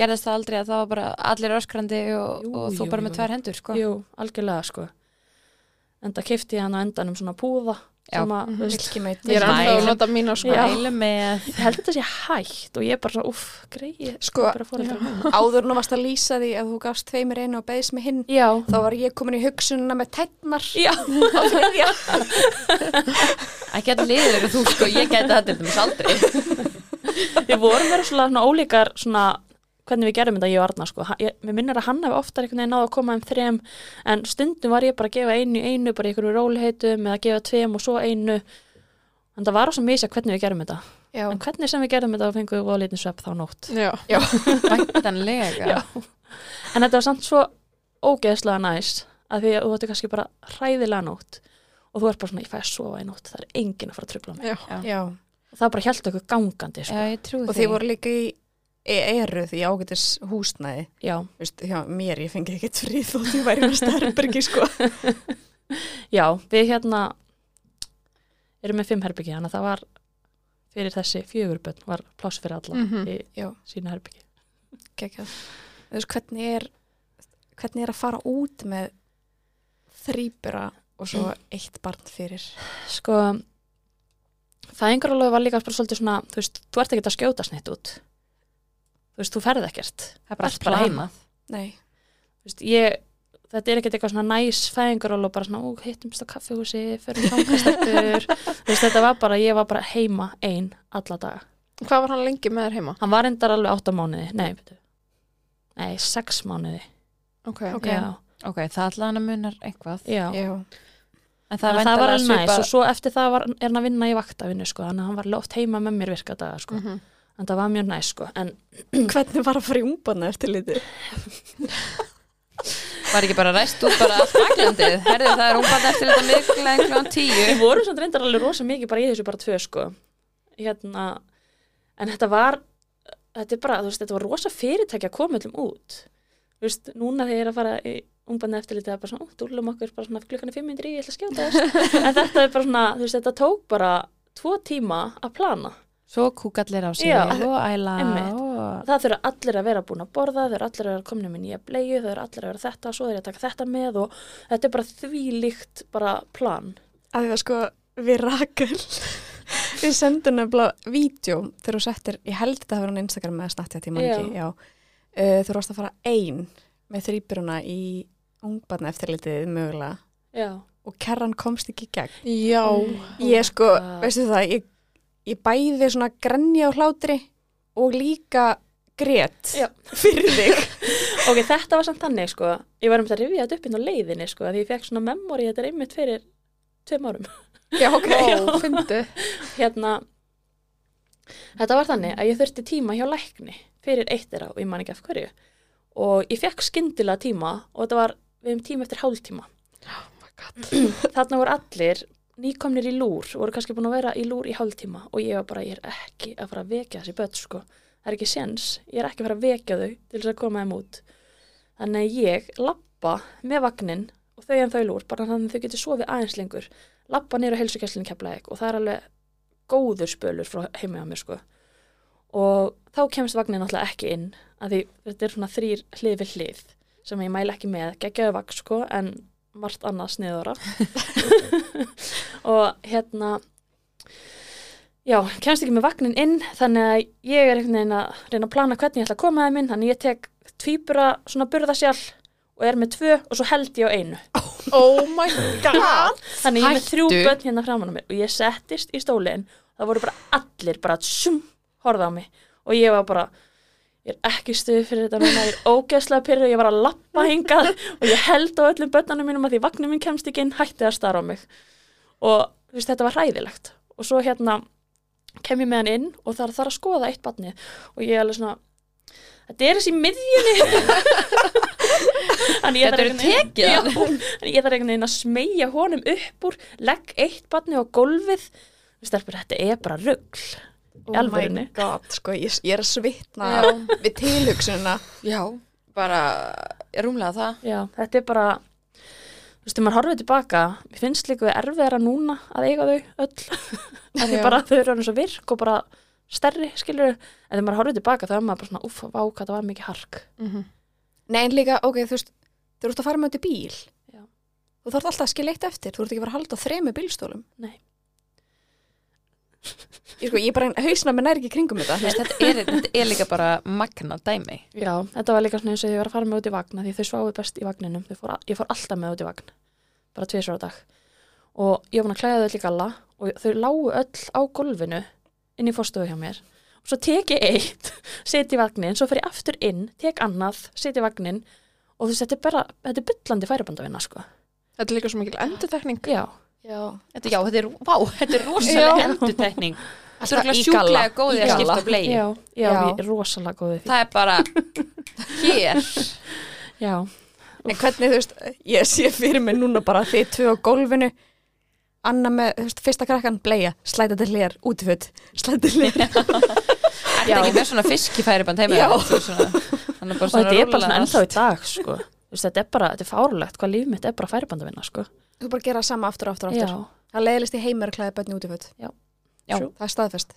A: gerðist það aldrei að það var bara allir öskrandi og,
D: Jú,
A: og þú
D: jú,
A: bara
D: jú.
A: með tvær hendur, sko.
D: Jú, algjörlega, sko. Enda kifti ég hann á endanum svona púða
A: Já.
D: sem að, þú veist,
C: Milkimate.
B: Ég er alltaf að
A: Mælum.
B: nota mína sko.
D: Já.
A: Mælu með,
D: ég held að þetta sé hægt og ég er bara svona, uff, greið
C: sko,
D: bara fóreldrar mína.
C: áður nú varst að lýsa því að þú gafst tveimur einu og beðist með hinn
D: Já,
C: þá var ég komin í hugsununa með tætnar
D: já,
A: ekki allir liður og þú, sko, ég gæti það til dæmis aldrei.
D: við vorum verið svona, svona ólíkar svona, hvernig við gerum þetta ég og Arna sko, Ha- ég, mér minnir að hann hafi oftar einhvern veginn náð að koma um þrem en stundum var ég bara að gefa einu, einu bara í einhverju rólheitum eða að gefa tveim og svo einu en það var á svo mísa hvernig við gerum þetta
C: já,
D: en hvernig sem við gerum þetta þá fengum við voða lítið svepp þá nótt
B: Já.
A: Væntanlega.
D: Já. en þetta var samt svo ógeðslega næs að því að þú ætti kannski bara hræðilega nótt og þú ert bara svona, ég fæ að sofa í nótt, það er enginn að fara að trubla mig.
B: Já.
C: Já.
D: Og það bara held okkur gangandi, sko.
A: Já, ég trúi
C: Og þið voru líka í e- eruð í ágætis húsnæði.
D: Já,
C: Vist, hjá mér, ég fengi ekkert frið þótt ég væri með starfbergi, sko.
D: já, við hérna erum með fimm herbyggi, þannig að það var fyrir þessi fjögurbönn, var pláss fyrir alla
B: Mhm.
D: í
C: Já.
D: sínu herbyggi.
C: Gekjað. Þú veist, hvernig er, hvernig er að fara út með þrýbura og svo eitt barn fyrir?
D: sko fæðingarólöf var líka bara svolítið svona þú veist, þú ert ekkert að skjóta snitt út þú veist, þú ferð ekkert
A: það er
D: bara
A: bara
D: allt
A: allt
D: bara
A: planað.
C: Nei.
D: þú veist, ég, þetta er ekkert eitthvað svona næs fæðingarólöf, bara svona, ú, hittumst á kaffihúsi förum þangastettur þú veist, þetta var bara, ég var bara heima ein alla daga,
B: Hvað var hann lengi með þér heima?
D: hann var endar alveg átta mánuði nei, betur nei, sex mánuði,
B: Ok.
C: Ok.
D: já,
A: Ok, það allan að munar eitthvað.
D: já.
C: Já.
A: En það,
D: Það, það var
A: væntanlega
D: alveg næs
A: svipað-
D: og svo eftir það var, er hann að vinna í vaktavinu sko, þannig að hann var alveg oft heima með mér virka daga sko,
B: Mhm.
D: en það var mjög næs sko, en
C: Hvernig var að fara í umbanna eftir liti?
A: Var ekki bara ræst út bara allt baklandið? Herðu, það er umbann eftir þetta mikla en klón tíu.
D: við vorum samt reyndar alveg rosa mikið bara í þessu bara tvö sko hérna, en þetta var þetta er bara, þú veist, þetta var rosa fyrirtæki að koma öllum út þú veist, núna þegar ég er að fara í umbanna eftirliti það er bara svona, ó, dúllum okkur bara svona klukkan er 500 í, ég ætla að skjóta þess en þetta er bara svona, þú veist, þetta tók bara tvo tíma að plana
A: Svo kúkallir á sig
D: Já.
A: og æla
D: Einmitt.
A: og...
D: það þurfa allir að vera búin að borða, þau eru allir að vera komin með nýja bleiu, þau eru allir að vera þetta svo þeir að taka þetta með og þetta er bara þvílíkt bara plan
C: Að því að sko, við rakar við sendum nefnilega vídeo þegar þú settir, ég held þetta að vera á Instagram með snartjátt, ég man ekki, já. Uh, þú varst að fara ein með þrýburuna í ungbarna eftirlitið mögulega
D: Já,
C: og kerran komst ekki í gegn.
B: Já.
C: ég sko,
D: Oh God.
C: veistu það, ég, ég bæði svona grenja á hlátri og líka grét
D: Já.
C: fyrir þig.
D: Ok, þetta var samt þannig sko Ég var um þetta að rifja þetta upp inn á leiðinni sko Því ég fekk svona memory, þetta er einmitt fyrir Tveim árum
C: já, ok.
B: Ó, fyndu.
D: hérna, Þetta var þannig að ég þurfti tíma hjá lækni Fyrir eitt þeirra og ég man ekki af hverju Og ég fekk skyndilega tíma Og þetta var við um tíma eftir hálftíma
C: Oh
D: Þarna voru allir Nýkomnir í lúr, voru kannski búin að vera í lúr í hálftíma Og ég var bara, ég er ekki að fara að vekja þessi börn sko Það er ekki séns, ég er ekki að fara að vekja þau Til þess að koma þeim út Þannig að ég lappa með vagninn og þau en þau lúr, bara þannig að þau getur sofið aðeins lengur. Lappa niður á heilsugæslinni keflaðið og það er alveg góður spölur frá heimi á mér sko. Og þá kemst vagninn náttúrulega ekki inn að því þetta er svona þrýr hlið við hlið sem ég mæla ekki með, geggjaðu vagn sko en margt annað sniðora. og hérna, já, kemst ekki með vagninn inn þannig að ég er einhvern veginn að reyna að plana hvernig ég ætla að koma það minn þannig að ég tek tvíbura svona burðasjál og er með tvö og svo held ég á einu
B: Oh my god.
D: þannig ég er með þrjú
A: Hættu.
D: börn hérna framan á mér og ég settist í stólinn það voru bara allir bara tsum, horfða á mig og ég var bara ég er ekki stuð fyrir þetta núna, ég er ógeðslega pyrrið, ég var að lappa hingað og ég held á öllum börnunum mínum að því vagnum minn kemst ekki inn, hætti að stara á mig og þú veist, þetta var hræðilegt og svo hérna kem ég með hann inn og það er, það er að skoða eitt barnið og ég er alveg svona þetta er þessi í miðjunni Þannig ég
A: Þetta
D: þarf
A: eru
D: einhvern veginn-
A: tekið
D: Já, þannig ég þarf einhvern veginn að smeyja honum upp úr legg eitt barnið á gólfið Þú stelpur, þetta er bara rugl í alvörinu
C: Oh my god, sko, ég, ég er að svitna
A: Já.
C: við tilhugsununa.
A: Já, bara rúmlega það.
D: Já, þetta er bara þú veist, þegar maður horfið tilbaka mér finnst líka erfiðara núna að eiga þau öll af því
B: Já.
D: bara þau eru orðin svo virk og bara stærri, skilur en þegar maður horfið tilbaka þá er maður bara svona uff, vá, hvað það var mikið hark
C: Nei, en líka, ok, þú veist, þú ert að fara með þetta í bíl.
D: Já.
C: Þú þarf alltaf að skilja eitt eftir, þú ert ekki að fara að halda á þremi bílstólum.
D: Nei.
C: Ég sko, ég bara, hausna með nær ekki í kringum þetta. þú veist,
A: Þetta er, þetta er líka bara magna dæmi.
D: Já, þetta var líka svona eins og ég var að fara með út í vagn af því þau sváðu best í vagninum Þau fór, ég fór alltaf með út í vagn bara tvisar á dag og ég var búin að klæða þau öll í galla og þau lágu öll á gólfinu inn í fórstöðu hjá mér og svo tek ég eitt, seti í vagnin svo fer ég aftur inn, tek annað, seti í vagnin og þú veist, þetta er bara þetta er byllandi færibandavinna, sko
B: Þetta er líka svo mikil endurtekning.
D: Já,
C: Já.
A: Þetta, já, þetta er, vá, þetta er rosalega
B: Já.
A: endurtekning. Þetta er
C: Alltaf
A: örugglega
C: í galla.
A: sjúklega góðið
C: Í
A: að
C: galla.
A: skipta blei.
D: já, já,
C: Já.
D: ég er rosalega góðið því
A: Það er bara hér.
D: Já,
C: En hvernig, þú veist, ég sé fyrir mig núna bara þið tvö á gólfinu, Anna með, þú veist, fyrsta krakkan bleia, slæta til hlér, útföt, slæta til hlér.
A: Er þetta ekki með svona fiskifæriband heima?
C: Já.
A: Þú Svona, þannig bara
D: og þetta er
A: rúlla
D: bara svona
A: allt.
D: ennþá í dag sko. Þú veist, þetta er bara, þetta er fárlegt hvað líf mitt er bara færiband að vinna sko.
C: Þú bara gera sama aftur og aftur og
D: Já,
C: aftur. Það leiðilist í heimur að klæða bönni útföt.
D: Já.
A: Já.
C: Það er staðfest.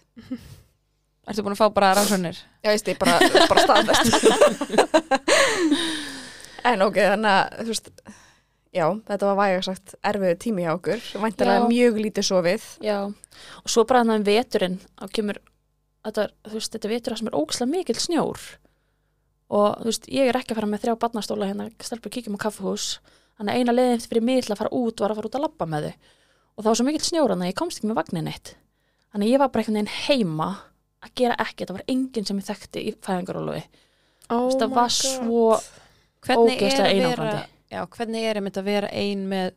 A: Ertu búin að fá bara rannsóknir?
C: Já, veist, ég bara, bara staðfest. en ok, þannig að, þú veist, já, þetta var vægarsagt erfiðu tími hjá okkur. Væntalega
D: Já.
C: mjög lítið sofið.
D: já og svo bara þannig veturinn þá kemur, þetta, er- þú veist, þetta er vetur þar sem er ókslega mikill snjór og þú veist, ég er ekki að fara með þrjá barnastóla hérna, stelpur kíkjum á kaffihús þannig að eina leiðin fyrir mig til að fara út var að fara út að labba með þau og það var svo mikill snjór þannig að ég komst ekki með vagnin eitt þannig að ég var bara einhvern veginn heima að gera ekkert, það var enginn sem ég þekkti í fæðingarólufi,
B: Oh my
D: það var
B: God.
D: svo
A: Hvernig er að
D: ógeðslega
A: vera,
D: einangrandi.
A: já, hvernig er einmitt að vera ein með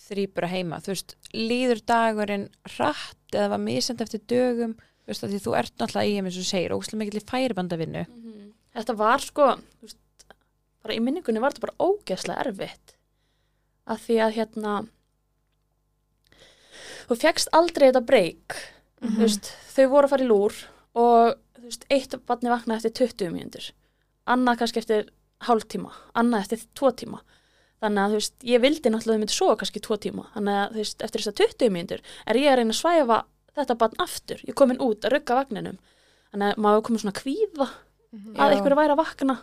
A: þrýbura heima? Þú veist, líður dagurinn hratt eða var misend eftir dögum? Þú veist, af því þú ert náttúrulega í heim eins og þú segir, ógæslega mikill í færibandavinnu.
D: Þetta var sko, þú veist, bara í minningunni var þetta bara ógeðslega erfitt. Af því að hérna, þú fegst aldrei þetta breyk. Þú veist, þau voru að fara í lúr og þú veist, eitt barni vaknaði eftir 20 mínútur. Annað kannski eftir hálftíma, annað eftir tvo tíma. Þannig að þú veist, ég vildi náttúrulega að þau myndi svo kannski tvo tíma. Þannig að þú veist, eftir þess að 20 mínútur er ég að reyna að svæfa þetta barn aftur. Ég er komin út að rugga vagninum. Þannig að maður er komin svona kvíða að einhverju væri að vakna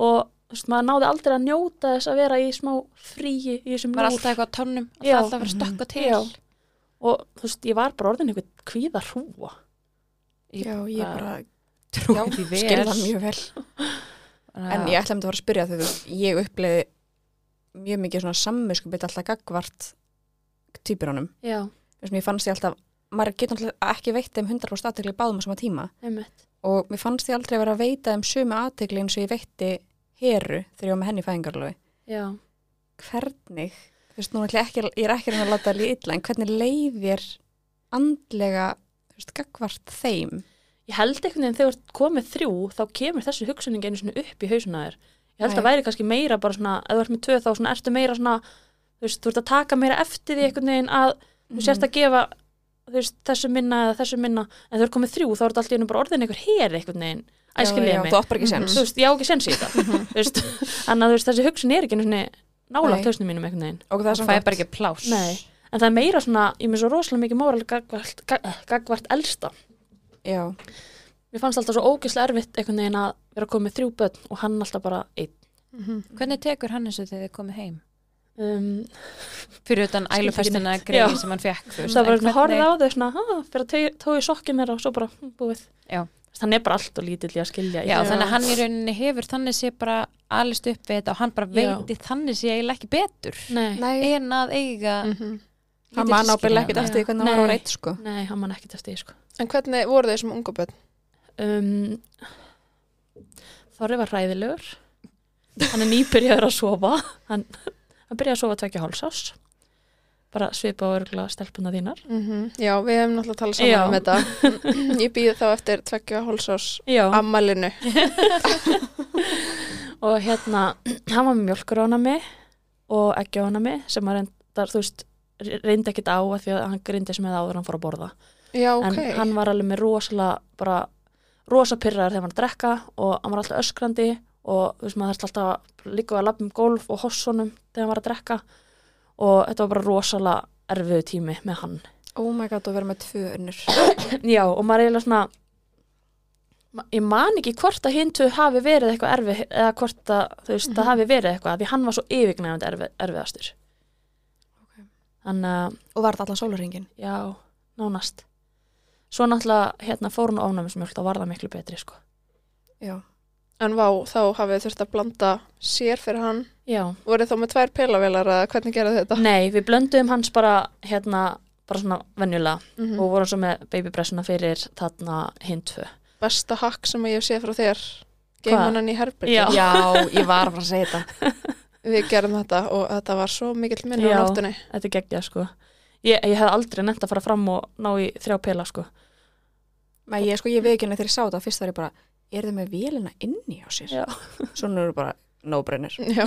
D: og þú veist, maður náði aldrei að njóta þess að vera í smá fríi í þessum
A: Var
D: lúr
A: alltaf eitthvað á tónum, alltaf,
D: Já. Mhm.
A: alltaf að vera stökka til.
D: Já. og þú veist, ég var bara orðin einhvern kvíða hrúa
C: Já, ég
D: bara-
C: bara
A: Trúi því vel. Ah.
C: skil það mjög vel. En ég ætla að fara að spyrja þau, þú veist, ég uppleiði mjög mikið svona sammisku byrja alltaf gagvart týpurunum.
D: Já,
C: Þess að mér fannst ég alltaf, maður getur náttúrulega ekki veitt þeim 100% aðtegli báðum á sama tíma
D: einmitt
C: og mér fannst ég aldrei vera að veita þeim sömu aðtegli eins og ég veitti heru þegar ég var með henni í fæðingarlöfi.
D: Já,
C: Hvernig, þú veist, nú ætla ég ekki, ég er ekki að reyna að láta alveg illa, en hvernig leiðir andlega, þú veist, gagvart þeim?
D: ég held einhvern veginn þegar þú ert komið þrjú þá kemur þessi hugsunning einu svona upp í hausuna þér ég held að
C: Nei.
D: væri kannski meira bara svona ef þú ert með tvö þá svona ertu meira svona þú veist, þú ert að taka meira eftir því einhvern veginn að
C: Mhm.
D: þú sért að gefa þú veist, þessu minna eða þessu minna en þegar þú ert komið þrjú þá er þetta alltaf einu bara orðin einhver hér einhvern veginn
C: Mhm. Já,
D: æskilegið
C: já,
D: mig
C: Þú átt bara ekki sens.
D: þú veist, ég á ekki sens í þetta
A: Mhm.
D: Þú veist, þannig að þú veist, þessi hugsun er ekki einu sinni
C: Nei.
D: nálægt hausnum mínum einhvern veginn
C: Og Mhm.
A: það
C: það er
A: fæði
C: svona
A: bara ekki pláss.
D: Nei. en það er meira svona, ég er með svo rosalega mikið móral gagvart, gag- gagvart elsta
C: Já,
D: mér fannst alltaf svo ógeðslega erfitt einhvern veginn að vera að koma með þrjú börn og hann alltaf bara einn
B: Mhm.
A: Hvernig tekur hann þessu þegar þið komið heim?
D: um,
A: Fyrir utan
D: Skildi ekki
A: ælufestina
D: neitt.
A: greiði
D: Já.
A: sem hann fekk. þú veist,
D: það var
A: en
D: einhvern horfið á þau svona, "Ah, fyrir að tau- tóa í sokkin þeirra og svo bara hm, búið
A: Já.
D: hann er bara allt og lítill í að skilja
A: Já,
B: Já.
A: þannig að hann í rauninni hefur þannig sé bara alist upp við þetta og hann bara
D: Já.
A: veiti þannig sé eiginlega ekki betur
D: nei, nei.
C: nei,
A: en að eiga
D: Mm.
B: Mhm.
C: hann man ábyrlega ekkert
D: Já.
C: eftir því hvernig hann var
D: Nei.
C: að vera eitt, sko.
D: hann man ekki testið sko.
B: En hvernig voru þeir sem unga börn?
D: um, Þorri var hræðilegur hann er nýbyrjaður að sofa hann, hann byrjaði að sofa tvekja hálsás bara svipa og örgla stelpuna þínar
B: Já, við hefum náttúrulega talað saman
D: Já.
B: um þetta. Ég býð þá eftir tveggja hálsás
D: Já.
B: ammalinu.
D: og hérna, hann var með mjölkur ána mig og ekki ána mig sem að reyndar, þú veist reyndi ekkit á að því að hann grindi sem hefði áður en hann fór að borða
B: Já, ok.
D: en hann var alveg með rosalega bara rosa pyrraður þegar hann var að drekka og hann var alltaf öskrandi og þú veist maður þarf alltaf að líka að lappa um golf og hossonum þegar hann var að drekka og þetta var bara rosalega erfiðu tími með hann
C: Oh my god, þú verður með tvö önnur.
D: já og maður er eiginlega svona ma- ég man ekki hvort að hintu hafi verið eitthvað erfið eða hvort að þú veist það hafi verið eitthvað af því hann var svo yfirgnæfandi erfi, erfiðastur
C: Ok.
D: þannig að
C: Og var þetta allan sólaringin?
D: Já, nánast. Svo náttúrulega hérna fór hún á ofnæmismjölk, þá var það miklu betri sko.
C: Já.
B: En vá, þá hafið þurft að blanda sér fyrir hann.
D: Já.
B: Voru þá með tvær pilavelar að hvernig gera þetta?
D: Nei, við blönduðum hans bara hérna, bara svona venjulega
B: Mm
D: og vorum svo með babybressuna fyrir þarna hinn tvö.
B: Besta hack sem ég hef séð frá þér. Geim
D: Hvað?
B: hann í herbyrgi.
D: Já.
C: ég var að fara að segja þetta.
B: Við gerum þetta og þetta var svo mikill minn á
D: Já.
B: nóttunni.
D: Þetta geggja sko. Ég, ég hef aldrei nefnt að fara fram og ná í þrjá pela sko.
C: Nei, ég sko, ég veikinu þegar ég sá þetta, fyrst var ég bara, er þið með vélina inni á sér?
D: Já.
C: Svo nú eru bara no brainer.
B: Já.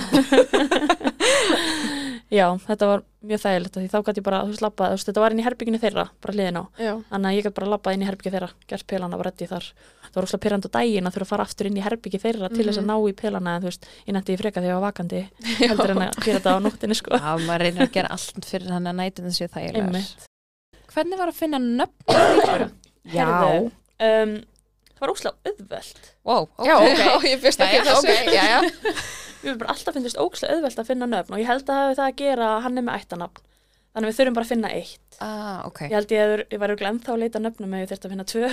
D: já, þetta var mjög þægilegt af því þá gæti ég bara, þú veist, labbað, þú veist, þetta var inn í herbygginu þeirra, bara hliðin á,
B: Já,
D: þannig að ég gæti bara labbað inn í herbygginu þeirra, gert pelana og reddi þar það var óslega pyrrandi á daginn að þurfa að fara aftur inn í herbygginu þeirra til þess að
B: Mhm.
D: ná í pelana en þú veist, ég nætti í freka þegar ég var vakandi heldur en að gera þetta á nóttinni sko
A: Já, maður reynir að gera allt fyrir hann að nætun þessu þægilegar.
D: Einmitt.
A: Hvernig var að finna nöfn á þrýbura?
D: Herðu, um, það var óslega auðvelt
A: Wow, ok.
B: já, ok, ég fyrst ekki
A: Jæja,
B: þessu.
A: ok, jæja.
D: Við höfum bara alltaf finnist ókslega auðvelt að finna nöfn og ég held að það hafi það að gera að hann er með ættanafn. Þannig að við þurfum bara að finna eitt.
A: Ah, ok.
D: Ég held ég, að ég var örugglega ennþá að leita að nöfnum ef ég þurfti að finna tvö.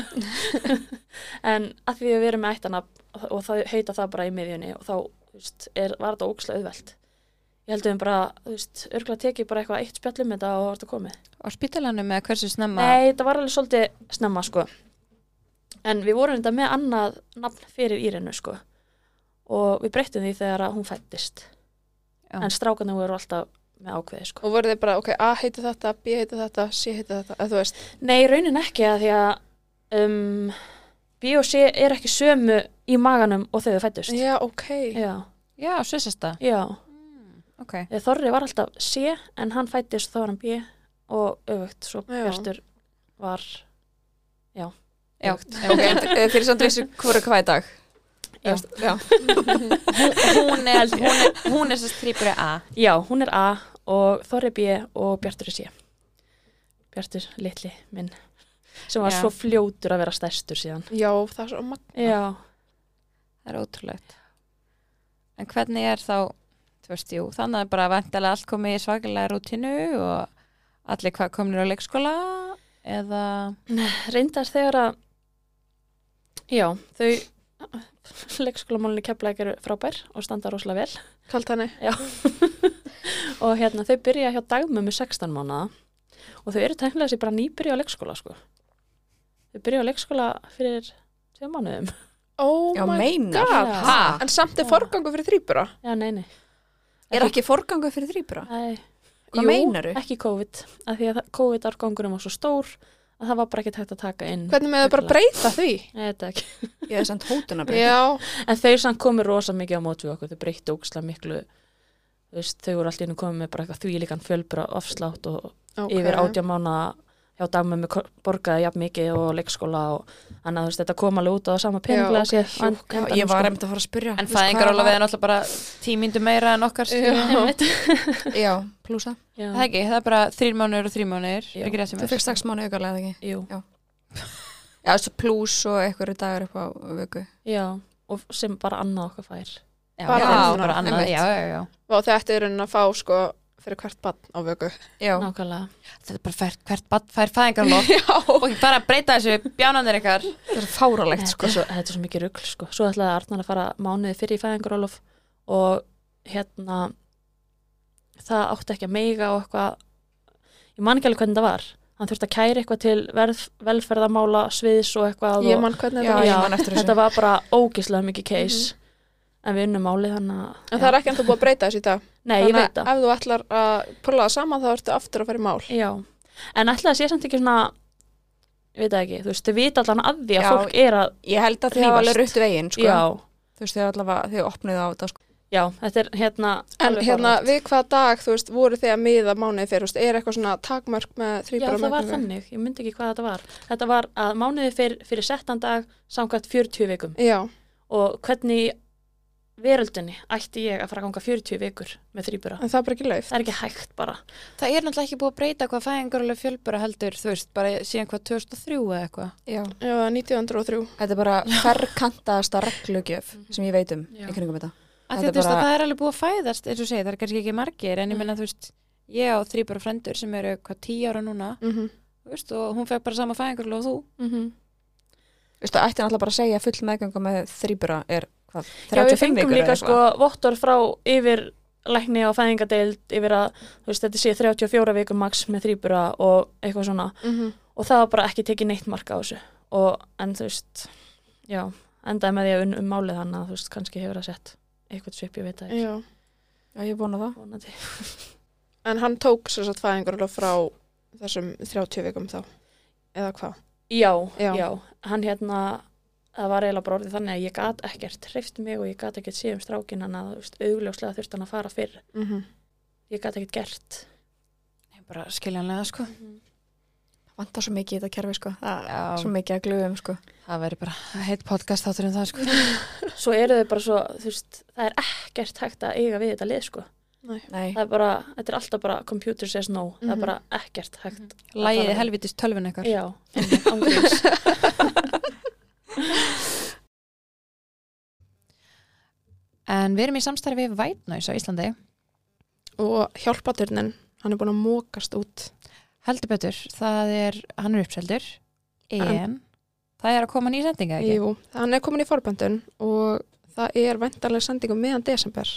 D: en að því við erum með ættanafn og það heita það bara í miðjunni og þá þú veist, er, var þetta ókslega auðvelt. Ég held að við höfum bara, þú veist, örgulega tekið bara eitthvað eitt spjall um þetta og var þetta komið.
A: Og spítalanum með hversu snemma?
D: Nei, þetta var alveg svolítið snemma sko. En við vorum þetta með annað nafn fyrir Írenu sko. Og við breyttum því þegar að hún fættist.
A: Já.
D: En strákarnir voru alltaf með ákveði sko.
B: Og voru þið bara, ok, A heiti þetta, B heiti þetta, C heiti þetta, eða þú veist.
D: Nei, í raunin ekki að því að um, B og C er ekki sömu í maganum og þegar þau fættust.
B: Já, ok.
D: Já,
A: Já, svissasta.
D: já.
A: Ok.
D: Eða Þorri var alltaf C en hann fættist og þá var hann B og öfugt svo
B: Já.
D: Bjartur var
A: Já,
C: Ok,
A: ok.
C: en þið þið eru samt vissu hverju hvað í dag
D: Já.
C: Já.
A: Hún er, hún er, hún er svo strýpuri A.
D: Já, hún er A og Þorri B og Bjartur er C. Bjartur litli minn sem var
A: Já.
D: svo fljótur að vera stærstur síðan.
B: Já, það er svo magna.
D: Já,
A: Það er ótrúlegt. En hvernig er þá, þú veist, jú, þannig að bara vantilega allt komið í svakalega rútinu og allir hvað komnir á leikskóla eða...
D: reyndar þegar að já, þau leikskólamálunni keflaði eru frábær og standa rosalega vel
B: Kalt hannig.
D: og hérna þau byrja hjá dagmömmu 16 mánuða og þau eru tæknilega sér bara nýbyrja á leikskóla sko. Þau byrja á leikskóla fyrir 7 mánuðum.
B: Oh
C: Já,
B: my
C: meina
B: god.
D: Já.
A: Ha?
B: En samt er
D: Já.
B: forgangu fyrir þrýbura.
D: Já, nei, nei.
C: Er ekki forgangu fyrir þrýbura?
D: Æ,
C: Hvað
D: Jú,
C: meinaru?
D: ekki COVID, af því að það- COVID-árgangurum var svo stór að það var bara ekki hægt að taka inn.
B: Hvernig með það bara breyta því?
D: Nei, þetta ekki.
C: Ég hef sendt hótunabrið
B: Já,
D: En þeir samt komið rosa mikið á mót við okkur, þau breyttu ógislega miklu, þú veist, þau voru alltaf inn og komið með bara eitthvað þvílíkan fjölbra ofslátt og
B: ok.
D: yfir átjá mánu hjá dagmömmu ko- borgaði jafn mikið og leikskóla og annað, þú veist, þetta kom alveg út á sama peninglega
B: ok,
D: sér.
B: jú,
C: Já, ég var einmitt að fara að spyrja
A: En
C: þú veist,
A: fæðingar
C: hvað
A: alveg er náttúrulega bara tímindu meira en okkar skilur.
B: Já.
C: var- Já, plúsa
A: Það er
D: Já,
A: ekki, það er bara þrír mánuður og þrír mánuður
D: Já.
A: Er ekki rétt sem
C: Þú
A: er?
C: fyrst sex mánu aukarlega eða ekki
D: jú,
C: Já, þessu plús og einhverju dagar upp á vöku
D: já, og sem bara annað okkar fær.
A: Já,
B: bara
A: bara,
B: annað,
A: bara annað,
C: einmitt.
A: já, já, já
B: Og þau ættu í rauninni að fá sko fyrir hvert bann á vöku.
C: Já,
D: Nákvæmlega.
A: Þetta er bara fær, hvert bad fær fæðingarlóf
B: Já.
A: og ekki bara að breyta þessu bjánandir ykkar
C: þetta er fáralegt
D: Þetta
C: sko
D: er svo, þetta er svo mikið rugl sko. Svo ætlaði Arnar að fara mánuði fyrir í fæðingarólof og hérna það átti ekki að meiga og eitthvað ég man ekki alveg hvernig það var hann þurfti að kæra eitthvað til verð, velferðamála sviðs og eitthvað
B: Ég
D: og,
B: mann hvernig
C: Já,
B: það
C: ég
D: Já,
C: man eftir
D: þetta
C: þessu
D: var bara ógislega mikið case en við unnum málið hann að
B: En það er ekki enda búið að breyta þessu í dag.
D: Nei, ég veit
B: að
D: það
B: ef þú ætlar að púla það saman þá ertu aftur að fara í mál.
D: Já, en ætlaði að sé samt ekki svona ég veit það ekki, þú veist, þau vita allan að því að
C: Já,
D: fólk er að,
C: Ég held að þið hafa alveg rutt veginn sko
D: já,
C: Þú veist, þið allavega, þið opnuðu á þetta sko
D: já, þetta er hérna
B: En
D: alveg
B: hérna,
D: fáránlegt.
B: við hvaða dag, þú veist, voru þið að miða mánuði fyrir, þú veist, er eitthvað svona takmörk með
D: Já,
B: þrýbara
D: það var þannig, ég myndi ekki hvað þetta var. Þetta var að mánuði fyr, fyrir settan dag samkvæmt 40 vikum
B: Já,
D: og hvernig í veröldinni ætti ég að fara að ganga 40 vikur með þrýbura.
B: en það er bara ekki lauf.
D: Það er ekki hægt bara.
A: Það er náttúrulega ekki búið að breyta hvað fæðingarlóf fjölbara heldur, þú veist, bara síðan hvað 2003 eða eitthvað
C: Já
B: Já, 1903.
C: Þetta er bara ferkantaðasta reglugjöf sem ég veit um
D: Já.
C: í kringum þetta.
A: Af
C: Þetta
A: því að þú veist
C: bara- Mhm.
A: að það er alveg búið að fæðast eins og segja, það er kannski ekki margir en ég menna, þú veist, ég á þrýbara frendur sem eru hvað 10 ára núna,
B: Mm
D: Mhm.
B: -hmm.
A: þú veist, og hún fekk bara sama fæðingarlóf þú
D: Mm -hmm.
C: Þú veist, það ætti náttúrulega bara að segja að full meðgöngu með þrýbura er hvað,
D: Já, við
C: 35
D: fengum
C: vikur
D: líka
C: eða
D: sko
C: eitthvað?
D: vottor frá yfir lækni á fæðingadeild yfir að þú veist, þetta sé 34 vikum max með þrýbura og eitthvað svona
B: Mhm.
D: og það var bara ekki tekið neitt marka á þessu og en þú veist, já, endaði með því að unnum málið hann að þú veist, kannski hefur það sett eitthvað svip, ég veit það ekki.
B: Já.
C: Já, ég vona það.
D: Vonandi.
B: En hann tók sér satt fæðingarlega frá þessum 30 vikum þá, eða hvað?
D: Já,
B: Já.
D: já, hann hérna það var eiginlega bara orðið þannig að ég gat ekkert hreift mig og ég gat ekkert séð um strákin hann að þú veist, augljóslega þurfti hann að fara fyrr
B: Mm -hmm.
D: ég gæti ekkert gert
A: Nei, bara skiljanlega sko
D: Mhm.
C: vantar svo mikið í þetta kerfi sko það er
A: Já.
C: svo mikið að glöfum sko
A: það verður bara heitt podcast þáttur um það sko
D: svo eru þau bara svo, þú veist, það er ekkert hægt að eiga við þetta lið, sko.
C: nei,
D: Það er bara, þetta er alltaf bara computer says no, það
B: Mhm.
D: er bara ekkert hægt.
A: lægið helvitist tölvun ykkar
D: Já, ángríns.
A: en við erum í samstarfi við White Noise á Íslandi
B: og hjálpaturnin, hann er búin að mókast út
A: heldur betur, það er hann er uppseldur en
B: En-
A: það er að koma nýja sendinga ekki
B: Jú, hann er komin í forböndun og það er vendarlega sendingum meðan desember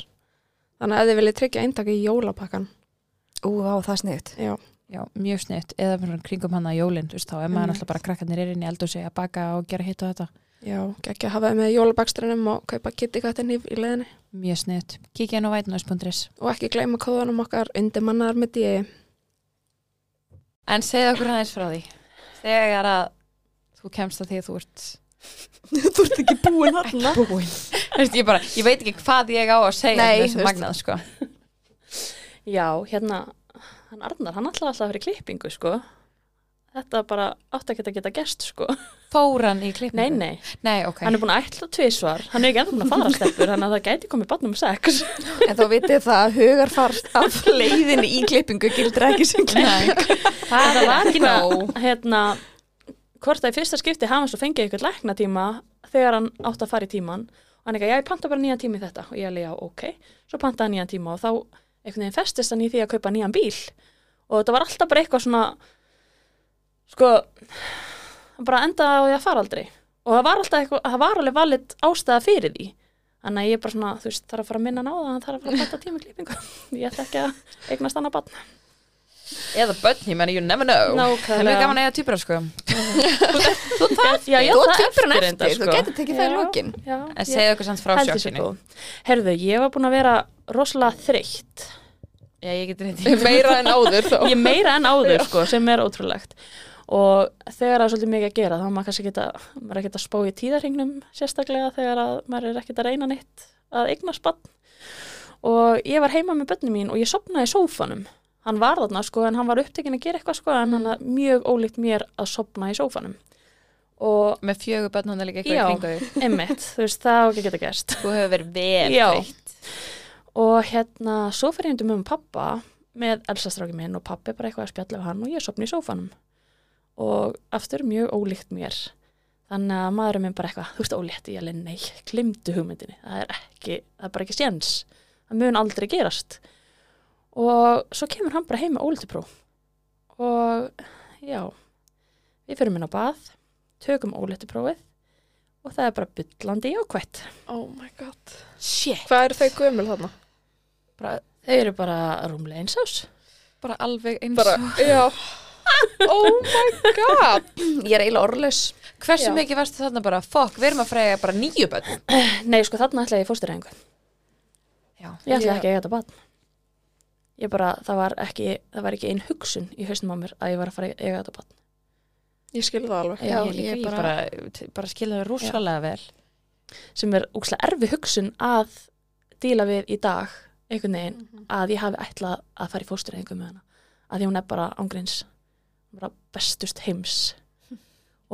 B: þannig að ef þið viljið tryggja eintaki í jólapakkan
C: ú á það er sniðut
B: já,
A: Já, mjög snitt, eða bara kringum hann að jólinn, þú veist, þá er maður
B: Einmitt.
A: alltaf bara krakkarnir er inn í eldhúsi að baka og gera hitt og þetta.
B: já, ekki að hafa þið með jólabakstrinum og kaupa kittikattin í leðinni
A: Mjög snitt. Kíkja inn á vætnaus.is.
B: og ekki gleyma kóðanum okkar undir mannar með dí
A: En segð okkur aðeins frá því. Þegar að þú kemst að því að þú ert,
C: þú ert ekki búin hann
A: búin. Veist, ég, bara, ég veit ekki hvað ég á að segja
C: Nei,
A: um
C: þú
A: þessu
C: veist.
A: magnað, sko.
D: Já, hérna, hann Arnar, hann ætlaði alltaf að fyrir klippingu, sko. Þetta bara átti ekki að geta gest, sko.
A: Fór hann í klippingu?
D: Nei, nei,
A: Nei, ok.
D: hann er búin að ætla tvísvar, hann er ekki ennþá búin að fara stelpur, þannig að það gæti komið barnum sex.
C: en þá vitið það að hugarfar af leiðinni í klippingu gildur ekki sem
A: Nei, það
D: Það
A: er
D: var
A: ekki nóg.
D: hérna, hérna, hvort að í fyrsta skipti hafa hann svo fengið eitthvað læknatíma þegar hann átti að fara í tíman. Og hann ekki, já, ég panta bara nýjan tíma í þetta. Og ég alveg, já, ok. Svo pantaði hann nýjan tíma og þá einhvern veginn festist hann í því að kaupa nýjan bíl. Og þetta var alltaf bara eitthvað svona, sko, hann bara endaði á því að fara aldrei. Og það var alltaf eitthvað, það var alveg valit ástæða fyrir því. Þannig að ég er bara svona, þú veist, þarf að fara að minna hann á það, hann þarf að fara að panta tímaklippingu. Ég ætla ekki að eignast annað barn.
A: Eða börn, ég menn, you never know. Það er mjög gaman að eiga týpur, sko.
D: Þú þarf, já, já,
C: þú átt
D: það
C: týpur hann
D: reyndar,
C: eftir, þú getur tekið það í
D: sko. Já,
C: lokin
D: Já,
A: En segð okkur samt frá
D: heldur sér
A: sjokkinu.
D: góð. Herðu, ég var búin að vera rosalega þreytt.
A: Já, ég get reyndi.
B: meira en áður þó
D: Ég er meira en áður, sko, sem er ótrúlegt. Og þegar það er svolítið mikið að gera, þá er maður kannski geta, maður er ekkert að spá í tíðarhingnum sérstaklega þegar að maður er ekkert að reyna neitt að eigna spann. Og ég var heima með bönni mín og ég sopnaði í sófanum. Hann var þarna, sko, en hann var upptekinn að gera eitthvað, sko, en hann er mjög ólíkt mér að sopna í sófanum. Og
A: Með fjögur börn, hún er líka
D: Já.
A: eitthvað í kringu.
D: Einmitt, þú veist, það á ekki að geta gerst.
A: Þú hefur verið vel
D: Já.
A: kveikt.
D: Og hérna, svo fer ég undir mömmu og pappa með elsastráki minn og pappi bara eitthvað að spjalla við hann og ég sopni í sófanum. Og aftur mjög ólíkt mér. Þannig að maðurinn minn bara eitthvað, þú veist, ólétt ég alveg, nei, glimtu hugmyndinni. Það er ekki, það er bara ekki séns. Það mun aldrei gerast. Og svo kemur hann bara heim með ólítupróf. Og já, við fyrir minn á bað, tökum ólítuprófið og það er bara byllandi jákvætt.
B: oh my god
A: Shit.
B: hvað eru þau gömul þarna?
D: bara, þau eru bara rúmlega eins ás
A: Bara alveg eins
B: bara, já oh my god
C: ég er eiginlega orðlaus
A: Hversu
D: Já.
A: mikið varstu þarna bara, fokk, við erum að frega bara nýju bönn.
D: nei sko þarna ætlaði ég fóstureyðingu
A: Já.
D: ég ætlaði
B: Já.
D: ekki að eiga þetta barn ég bara, það var ekki það var ekki ein hugsun í hausnum á mér að ég var að fara að eiga þetta barn
B: ég skil það alveg
A: Já,
D: Já,
A: ég,
D: ég
A: ég bara, bara, bara skilja það rosalega vel.
D: sem er úkslega erfi hugsun að díla við í dag einhvern veginn
B: Mhm.
D: að ég hafi ætlað að fara í fóstureyðingu með hana að því hún er bara ángríns bara bestust heims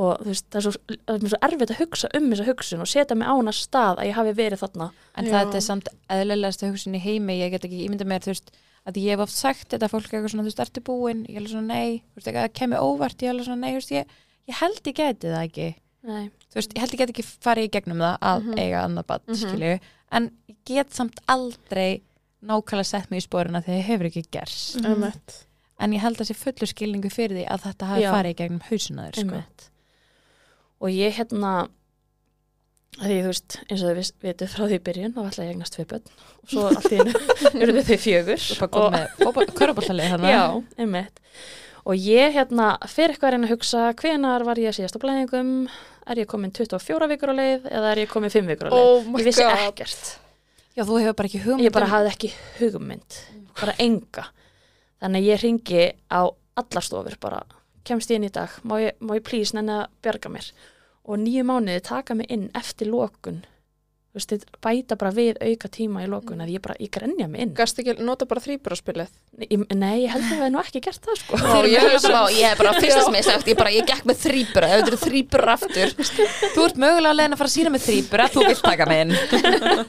D: og þú veist, það er svo, það er mér svo erfitt að hugsa um þessa hugsun og setja mig á hana stað að ég hafi verið þarna
A: En
B: Já.
A: það er samt eðlilegast hugsun í heimi, ég get ekki ímynda mér, þú veist, að ég hef oft sagt þetta fólk eitthvað svona, þú veist, ertu búin, ég held svona nei, þú veist, eitthvað að kemur óvart, ég held svona nei, þú veist, ég, ég held ég geti það ekki.
D: Nei.
A: Þú veist, ég held ég geti ekki farið í gegnum það að
B: Mhm.
A: eiga annað bad, mm
B: Mhm.
A: en ég get samt aldrei nákvæmlega sett mig í spórina þegar ég hefur ekki gerst.
D: Mhm.
B: Einmitt.
A: en ég held að sé fullu skilningu fyrir því að þetta hafi
D: Já.
A: farið í gegnum hausuna þér sko.
D: Einmitt. og ég hérna að því þú veist, eins og þau vitið frá því í byrjun þá ætla ég að eignast tvei börn og svo allt í hennu eru þau fjögur
A: Þú bara kom
D: og,
A: með körubóltalið þannig
D: já, einmitt og ég hérna fyrir eitthvað að reyna að hugsa hvenar var ég síðast á blæðingum er ég komin 24 vikur á leið eða er ég komin 5 vikur á leið
B: oh my
D: ég vissi
B: god
D: ekkert
A: já, þú hefur bara ekki hugmynd um-
D: ég bara hafði ekki hugmynd bara enga þannig að ég ringi á allar stofur bara, kemst ég inn í dag má ég, má ég plís nenni að bjarga mér og nýju mánuði taka mig inn eftir lokun Þú veist, þeir bæta bara við auka tíma í lokun að ég bara, ég grenja mig inn
B: Gast ekki, nota bara þrýbúraspilið.
D: Nei, ég- Nei, ég held að við hefði nú ekki gert það sko
B: Já, ég
E: Ég
B: hugsa-
E: hef bara, ég hef bara fyrsta sem ég sagt, ég bara, ég gekk með þrýbura, ef þetta eru þrýbura aftur.
A: Þú ert mögulega að leiðin að fara að sína með þrýbura, þú vilt taka með inn.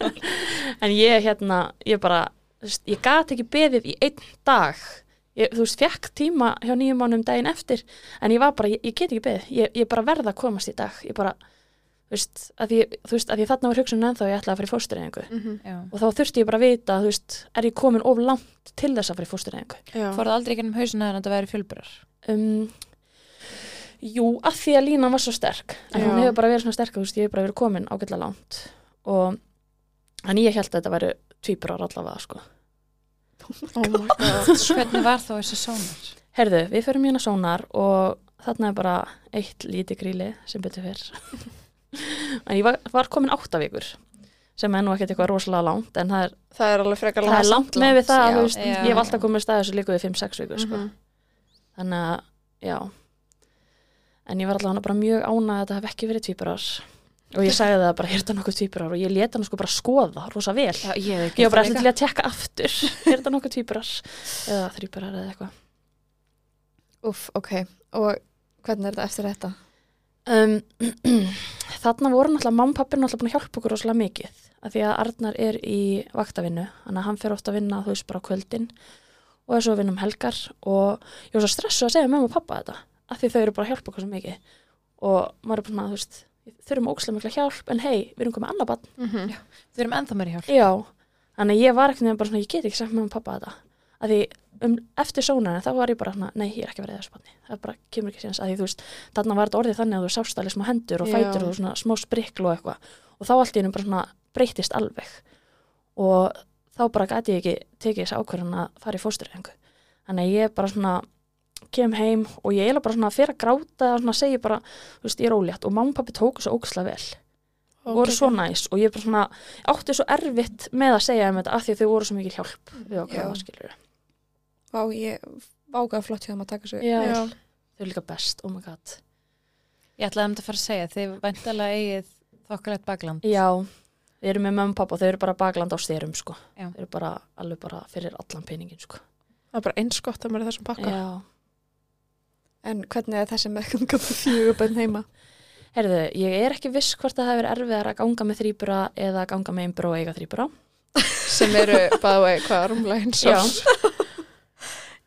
D: En ég hérna, ég bara þú veist, ég gat ekki beðið í einn dag ég, þú veist, fekk tíma hjá nýjum mánum daginn eftir, en ég var bara ég, ég get ekki beðið, ég, ég bara verð að komast í dag ég bara, þú veist, að ég, þú veist, að ég þarna var hugsunum ennþá að ég ætlaði að fara í fóstureyðingu
B: Mhm.
A: Já.
D: og þá þurfti ég bara að vita, þú veist, er ég komin of langt til þess að fara í fóstureyðingu
B: Já.
A: Fór það aldrei ekki um hausina þannig að þetta væri fjölburar.
D: um, Jú, að því að línan var svo sterk en hún
B: Já.
D: hefur bara verið svona sterk þú veist, ég hefur bara verið komin ágætlega langt og en ég held að þetta væri tvíburar allavega sko.
B: Oh my god.
A: Hvernig var þá þessi sónar?
D: Herðu, við förum hérna sónar og þarna er bara eitt lítið gríli sem betur fyrr en ég var, var komin átta vikur sem er nú ekkert eitthvað rosalega langt en það er,
B: Það er alveg frekar
D: það er langt með við það
E: já,
D: já, veist,
A: já.
D: ég hef alltaf komið staðið þessu líka við 5-6 vikur sko.
B: Mhm.
D: þannig að, já en ég var allavega bara mjög ánað að þetta hef ekki verið tvíburar og ég sagði það bara, er þetta nokkuð tvíburar og ég leta hann sko bara skoða rosa vel
A: Já, ég hef
D: ég var bara eftir til að tekka aftur er þetta nokkuð tvíburar eða þrýburar eða eitthvað
C: Úf, ok. Og hvernig er þetta eftir þetta?
D: um, þarna voru náttúrulega mamma og pappi náttúrulega búin að hjálpa okkur rosalega mikið af því að Arnar er í vaktavinnu þannig að hann fer ofta að vinna þú veist bara á kvöldin og er svo að vinna um helgar og ég var svo stressuð að segja mamma og pappa þetta af því þau eru bara að hjálpa okkur svo mikið og maður er bara svona þú veist við þurfum ókslega mikla hjálp en hei, við erum komið annað barn
B: Mhm.
A: Við erum ennþá meiri hjálp.
D: Já, þannig að ég var ekkert nefnir bara svona, ég get ekki sagt með um pappa þetta. Að því um, eftir sónarinn þá var ég bara svona, nei, ég er ekki að vera eða spanni. Það bara kemur ekki séns að því þú veist, þarna var þetta orðið þannig að þú sást alveg smá hendur og
B: Já.
D: fætur og svona smá sprikl og eitthvað. Og þá allt í hennu bara svona breytist alveg. Og þá bara gæti ég ekki tekið þessi ákvörðan að fara í fósturrengu. Þannig að ég bara svona kem heim og ég eiginlega bara svona fyrir að gráta eða svona segi bara, þú veist, ég er ólétt og mamma og pappi tóku svo ógislega vel voru svo næs og ég bara svona átti svo erfitt með að segja um þetta af því að þau voru svo mikil hjálp við
C: Já.
D: okkur það skilur
C: Vá, ég vágaði flott hjá þeim að taka þessu.
D: Já.
B: Já.
D: þau eru líka best, oh my god
A: Ég ætlaði um þetta að fara að segja, þið væntalega eigið þokkalegt bakland.
D: já, við erum með mamma og pappa og þau eru bara bakland á styrum sko
A: Já.
D: þau eru bara alveg bara fyrir allan peningin sko
B: Það er bara eins gott að maður er í þessum pakka.
D: já,
C: En hvernig er þessi með ganga fjögur bönn heima?
D: heyrðu, ég er ekki viss hvort það hefur erfiðar að ganga með þrýbura eða að ganga með einbura og eiga þrýbura
B: Sem eru, by the way, hvað rúmlega eins og...
C: um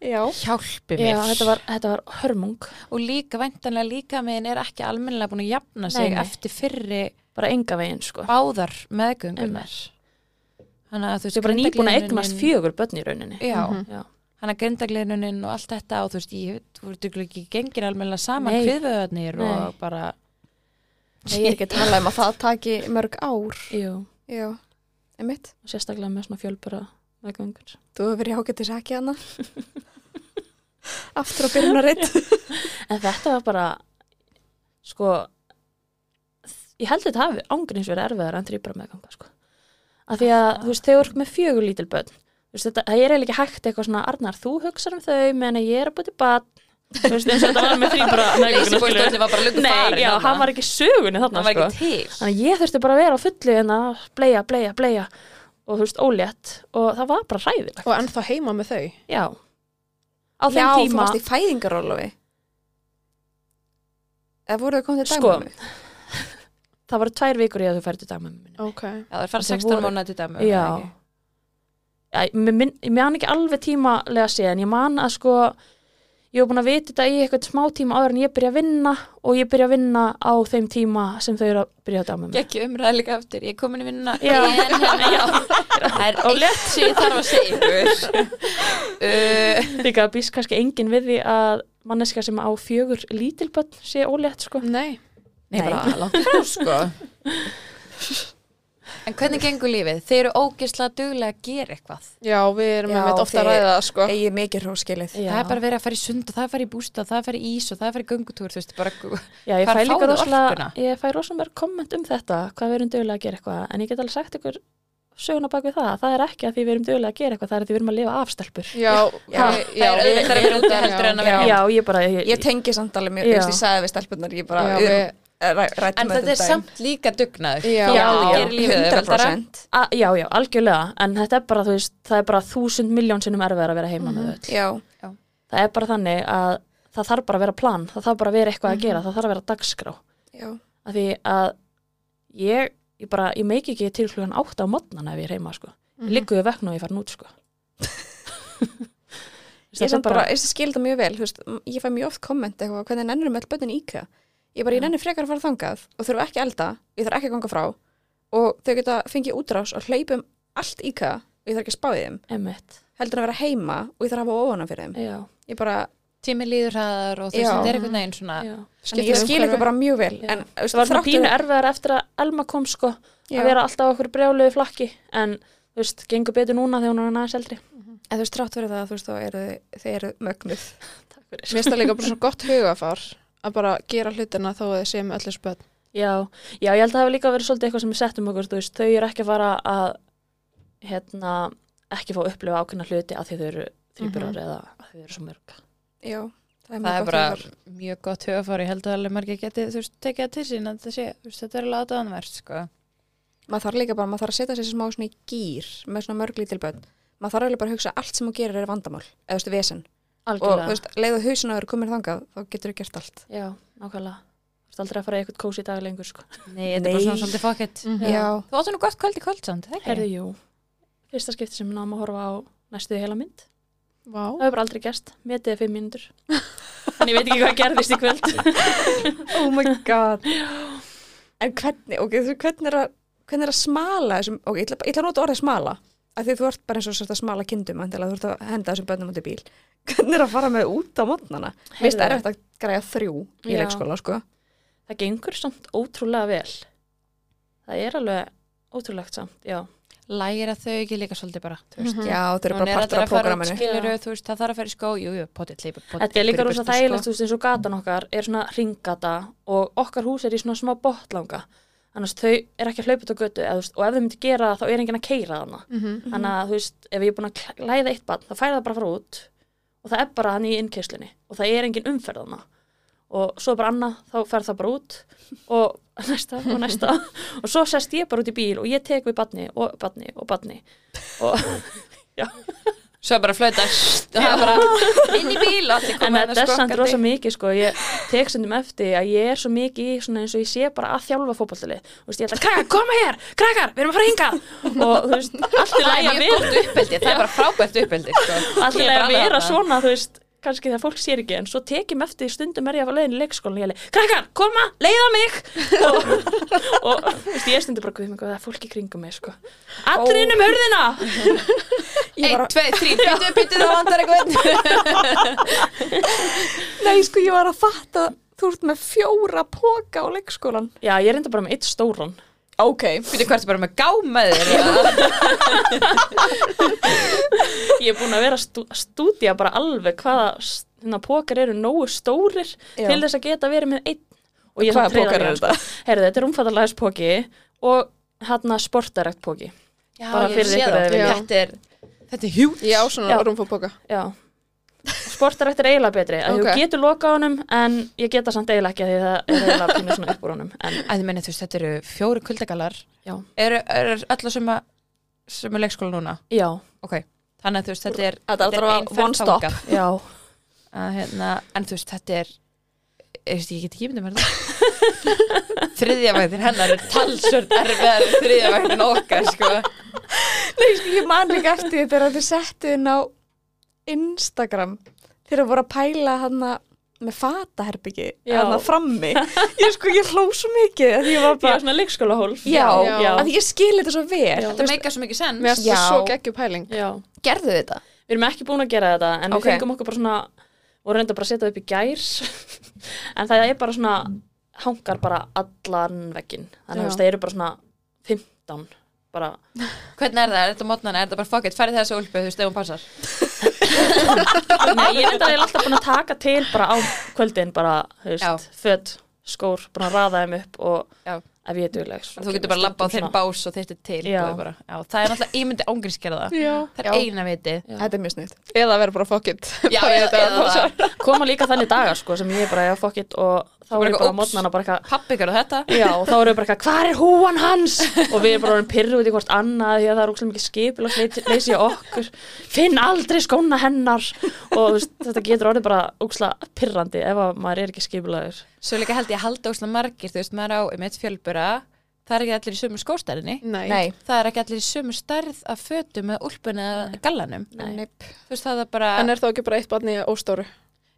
C: Já.
A: Hjálpi
D: já, þetta var, þetta var hörmung
A: Og líka væntalega líka meðin er ekki almennilega búin að jafna sig
D: Nei, nei.
A: eftir fyrri
D: bara enga veginn sko
A: báðar meðgöngunar.
D: Einmitt.
A: Þannig að þú
D: þau eru bara nýbúin að eignast
A: grindagliðnunin-
D: fjögur börn í rauninni
A: Já, mm
B: Mhm.
A: -hmm. hann að grindagliðunin og allt þetta og þú veist, ég, þú veist, þú ekki gengir almennilega saman
D: Nei.
A: kviðvöðarnir og
D: Nei.
A: bara
C: Ég er ekki að tala um að það taki mörg ár.
D: Jú.
C: Já. Einmitt.
D: og sérstaklega með svona fjölbura meðgöngur.
C: Þú hefur verið ágættis ekki hana. hérna. Aftur á byrjunaritt.
D: En þetta var bara, sko, ég held þetta hafi ángríns verið erfiðar en þrýbura meðganga, sko. Af því að, þú veist, þau eru með fjögur lítil börn. Þú veist, þetta, það er eiginlega ekki hægt eitthvað svona, Arnar, þú hugsar um þau, meðan að ég er að búti bann. Þú veist, eins og þetta var með þrýbura meðganga,
E: Leysibóðstólinn var bara lungu farin.
D: Nei, já, hann var ekki í sögunni þarna,
E: hann var
D: sko.
E: ekki til.
D: Þannig að ég þurfti bara að vera á fullu en að bleia, bleia, bleia og þú veist, ólétt og það var bara hræðilegt.
B: Og ennþá heima með þau.
D: Já. Á þeim
C: Já, þú
D: tíma
C: varst í fæðingarólofi. Eða voru þau komið til
D: Sko,
C: dagmömmu?
D: það var tvær vikur í að þau færðu dagmömmu minni.
B: Ok.
A: Já, það er fara
D: Þau
A: 16
D: voru-
A: mánuði til dæmi.
D: Já. Já, ég mér minn- ég man ekki alveg tímalega síðan, ég man að sko, ég var búin að vita þetta í eitthvað smá tíma áður en ég byrja að vinna og ég byrja að vinna á þeim tíma sem þau eru að byrja að dagmömmu.
A: Gekki umræði líka aftur, ég er komin í vinnuna
D: Já.
A: En hérna, já Það er eitt sem ég þarf að segja ykkur uh,
D: Líka býst kannski enginn við því að manneska sem á fjögur lítilbönn sé ólétt sko.
B: Nei.
A: Nei, bara langt frá sko En hvernig gengur lífið? Þeir eru ógislega duglega að gera eitthvað
B: Já, við erum
C: Já,
B: með mitt ofta að
C: þið-
B: ræða það, sko.
C: Egið mikið hróskilið.
D: Já.
A: Það er bara verið að fara í sund og það er að fara í bústa og það er að fara í ís og það er að fara í göngutúr þú veist, bara,
D: Já, ég
A: Hvar
D: fæ líka
A: fáðu
D: rosalega,
A: orkuna?
D: ég fæ rosalega mörg komment um þetta, hvað við erum dögulega að gera eitthvað, en ég get alveg sagt ykkur söguna bak við það, það er ekki að því við erum dögulega að gera eitthvað, það er að því við erum að lifa afstelpur.
B: Já,
C: Já.
B: við-
A: Það er
B: við-
A: auðvitað að vera úti heldur en að vera
B: Já.
D: Já, ég bara, ég,
C: Ég tengi samt alveg mjög,
D: Já.
C: þú veist, ég sagði við stelpunar, ég bara,
B: Já,
C: við erum
B: við-
C: rættum
A: En þetta er samt líka dugnaður
B: Já.
A: Þó
C: Já,
A: að
C: já,
A: gera lífið auðveldara.
C: 100%
D: A, já, já, algjörlega, en þetta er bara, þú veist, það er bara þúsund miljón sinnum erfiðar að vera heima með öll.
C: Já,
D: Það er bara þannig að það þarf bara að vera plan, það þarf bara að vera eitthvað að
C: Mhm.
D: gera, það þarf að vera dagskrá.
C: já,
D: Af því að ég, ég bara, ég meiki ekki til hlugan átt á modnana ef ég er heima, sko.
C: Mhm.
D: Mm -hmm. Liggu við vekna og ég fara nút, sko.
C: ég, samt bara, ég skil það mjög vel þú veist, m- ég fæ mjög oft komment eitthvað hvernig nennurum öll bönnin í IKEA ég bara, ég nennir frekar að fara þangað og þurfa ekki að elda ég þarf ekki að ganga frá og þau geta fengið útrás og hleypum allt IKEA og ég þarf ekki að spá í þeim
D: Emitt,
C: heldur en að vera heima og ég þarf að hafa óvana fyrir þeim
D: já,
C: ég bara,
A: Tími líður hraðar og þú
C: Já.
A: veist, þetta er einhvern veginn svona
D: já.
C: en ég skil eitthvað bara mjög vel
D: Já.
C: en þú veist,
D: Það var svona
C: þráttur-
D: pínu erfiðar eftir að Elma kom, sko,
C: Já.
D: að vera alltaf á okkur brjáluðu flakki, en, þú veist, gengur betur núna þegar hún er næst eldri.
C: en þú veist, trátt verið það, þú veist, þá eru þau eru mögnuð
D: Takk fyrir.
B: Mér finnst það líka bara svona gott hugafar að bara gera hlutina þó að þið séum öllu spöld.
D: Já, já, ég held að það hafa líka verið svolítið eitthvað sem við settum okkur, þú veist, þau eru ekki að fara að, hérna, ekki fá að upplifa ákveðna hluti að því þau eru þrýburar eða að þau eru svo mörg.
C: já, það er
A: Það
C: mjög
A: er
C: gott
A: bara
C: hugafar.
A: mjög gott hugafari, ég held að alveg margir geti þú veist, tekið það til sín að þetta sé, þú veist, þetta er alveg aðdánverð, sko.
C: maður þarf líka bara, maður þarf að setja sér smá svona í gýr með svona mörg lítil börn maður þarf alveg bara að hugsa að allt sem þú gerir er vandamál eða þú veist, vesen og
D: Algjörlega.
C: þú veist, leiðu hausinu að eru komin þangað þá getur þú gert allt
D: já, nákvæmlega. Þú veist aldrei að fara í eitthvað kósi í dag lengur, sko.
A: Nei, Mhm. þetta er bara svona svolítið fokkitt.
B: Mm
C: já,
A: Þú áttu nú gott kvöld í kvöldsamt, ekki?
D: Herði, jú, fyrsta skipti sem við náum að horfa á næstu heila mynd.
B: Vá.
D: Það hefur bara aldrei gerst, metið er fimm mínútur. en ég veit ekki hvað gerðist í kvöld.
C: oh my god en hvernig, ok, þú hvernig er að hvernig er að smala þessum, ok, ég ætla, ég ætla að nota orðið smala af því þú ert bara eins og sérst að smala kindum endilega, þú ert að henda þessum bönnum út í bíl hvernig er að fara með út á mótnana mér finnst
D: Heyrðu.
C: erfitt að græja þrjú í
D: Já.
C: leikskóla, sko
D: Það gengur samt ótrúlega vel. Það er alveg ótrúlegt samt, já.
A: Læra þau ekki líka svolítið bara, þú veist.
C: já, þau eru
A: Hún
C: bara
A: Mhm. er alltaf
C: partur
A: að
C: af
A: fara út,
C: prógraminu
A: skilur þau, þú veist, það þarf að fara í skó, jú, jú, potið, leipur, potið.
D: Þetta er líka
C: fyrir
D: rosa
A: sko.
C: burtu,
D: þægilegt, þú veist, eins og gatan okkar er svona ringgata og okkar hús er í svona smá botlanga. Annars þau er ekki að hlaupa út á götu eða, þú veist, og ef þau myndi gera það, þá er enginn að keira þarna. Þannig að, þú veist, ef ég er búin að klæ- klæða eitt barn, þá færa það bara að fara út og það er bara hann í innkeislinni og það er enginn umferð þarna. Og svo er bara annað, þá fer það bara út og næsta og næsta og svo sest ég bara út í bíl og ég tek við barni og barni og barni og
A: Svo bara flöta, það er bara inn í bíl og allir
D: En
A: koma hérna
D: þetta er samt rosa mikið sko, ég tek sendum eftir að ég er svo mikið í svona eins og ég sé bara að þjálfa fótballtali Þú veist, ég ætla, krakkar, koma hér, krakkar, við erum að fara hingað Og þú veist, allt er
A: Það
D: læg
A: er
D: að
A: mjög
D: vera,
A: gott uppbyldi, það er bara frábært uppbyldi, sko.
D: allt
A: Ég
D: er
A: er
D: læg
A: bara
D: að vera
A: þarna.
D: svona, þú veist kannski þegar fólk sér ekki, en svo tekjum eftir stundum er ég að fara leiðin í leikskólan og ég leið, krakkar, koma, leiða mig og, og þú veist, ég stundum bara guð mig, það er fólk í kringum mig, sko allir inn um hurðina
C: Ég
A: Einn,
C: bara-
A: tveið, þrý, byttu, byttu, það vandar eitthvað
C: Nei, sko, ég var að fatta þú ert með fjóra póka á leikskólan
D: Já, ég er enda bara með eitt stóran
C: Ok,
A: Býtu hvert bara með gámaður eða?
D: ég er búin að vera að stú, að stúdía bara alveg hvaða s- hérna pókar eru nógu stórir
C: Já.
D: til þess að geta verið með einn og ég
C: Hvaða pókar eru
D: Herðu, sko. þetta er umfattalæðis póki og hérna sportarekt póki
A: Já,
D: Bara
A: ég
D: fyrir
A: sé
D: ykkur
A: það.
D: eða vilja.
A: Þetta er, þetta er hjút
B: Já, svona
D: Já.
B: rúmfópoka.
D: já sportarekt er eiginlega betri að
B: Ok.
D: þú getur lokað honum en ég geta samt eiginlega ekki að því það er eiginlega pínu svona upp úr honum en
A: Æ, þið meina, þú veist, þetta eru fjóri kuldagallar
D: Já.
A: Eru er alla sem að sem er leikskóla núna
D: já,
A: Ok, þannig að þú veist, þetta er
C: Þetta er allavega
A: ein ferð
C: one stop.
A: þangað.
D: já
A: að, hérna, En þú veist, þetta er Ég veist, ég get ekki myndið mér það Þriðjavægðir hennar er talsvörn erfiðar en þriðjavægðin okkar, sko
C: Nei, sko, ég man líka eftir því þegar þið settu inn á Instagram þegar voru að pæla hann með fataherbyggi
D: Já.
C: hann frammi ég sko, ég hló svo mikið að ég var
D: já,
C: bara
D: svona leikskóla hólf
C: Já,
B: Já.
D: já,
C: að ég skil þetta svo vel
A: Þetta meika svo mikið sens
B: Mér finnst það
C: Já.
B: svo geggjum pæling.
D: já.
C: Gerðu þetta?
D: Við erum ekki búin að gera þetta en
C: Ok.
D: við fengum okkur bara svona vorum reynda bara að setja upp í gær en það er bara svona hangar bara allan veggin
B: Já.
D: þannig að þú veist, það eru bara svona 15 bara,
A: Hvernig er það? Er þetta mótnana? Er þetta bara fuck it? Færið þessu úlpu, þú veist, ef hún passar
D: nei, ég reynda að ég er alltaf búin að taka til bara á kvöldin bara, þú veist, föt, skór búin að raða þeim upp og
A: Já.
D: ef ég er dugleg sko. svo
A: Þú
D: kemur
A: getur bara labba á
D: stundum
A: þeirn bás og þetta er til
D: Já.
A: og bara, já, Það er náttúrulega, ég myndi ángriðs gera það
B: Já.
A: Það er eina viti
D: Já.
C: Þetta er mjög snitt
B: Eða vera bara fokkitt.
A: Já, eða, eða,
D: svona- koma líka þannig dagar sko sem ég er bara, já, fuck it og þá er
E: eitthvað,
D: ég bara
E: "Úps."
D: á mótnana bara eitthvað
E: Pappi gerðu þetta
D: Já, og þá erum við bara eitthvað, hvað er húan hans? Og við erum bara orðin pyrruð út í hvort annað því að það er ókslega mikið skipil og leysi okkur Finn aldrei skóna hennar og þú veist, þetta getur orðið bara ókslega pyrrandi ef að maður er ekki skipilagur
A: Svo líka held ég að halda óslega margir, þú veist, maður á um eitt fjölbura, það er ekki allir í sömu skóstærinni,
B: Nei.
E: Nei,
A: það er ekki allir í sömu stærð af fötum eða úlpunni eða gallanum.
C: Neip.
A: Þú veist, það er
C: Ah.
A: bara,
B: En er þá ekki bara eitt barni óstóru?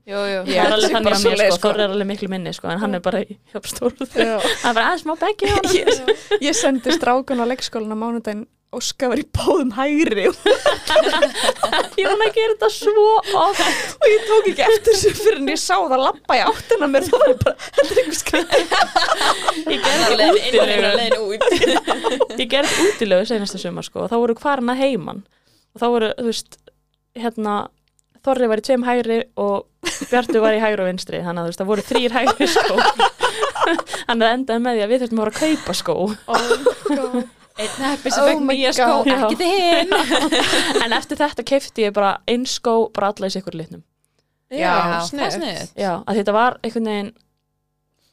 A: jú, jú,
D: Það er alveg þannig
C: bara
D: að mér
C: svoleiðis,
D: sko,
C: sko.
D: Þorri er alveg miklu minni sko, en hann er bara í hjöpstóruð Það
B: Já.
D: er bara aðeins smá beggi á hann
C: Ég, ég sendi strákun á leikskólan á mánudaginn Óska var í báðum hægri og
D: Ég vona að gera þetta svo oft
C: ég tók ekki eftir þessu fyrir en ég sá það lappa í áttina mér það var ég bara, þetta er einhver skrið
D: Ég gerði útilegu Ég gerði útilegu senasta sumar sko og þá voru hvarna heiman og þá voru, þú veist, hérna Þorri var í tveim hægri og Bjartu var í hægri og vinstri þannig að þú veist, það voru þrýr hægri skó Þannig að það endaði með því að við þurftum að voru að kaupa sko. skó
A: einn heppi sem
C: Oh
A: fekk
C: my
A: nýja skó,
D: God.
A: ekki þið hinn.
D: En eftir þetta keipti ég bara einn skó bara alla í sikur litnum
B: Já,
A: það er
B: sniðugt.
A: sniðið.
D: Já, að þetta var einhvern veginn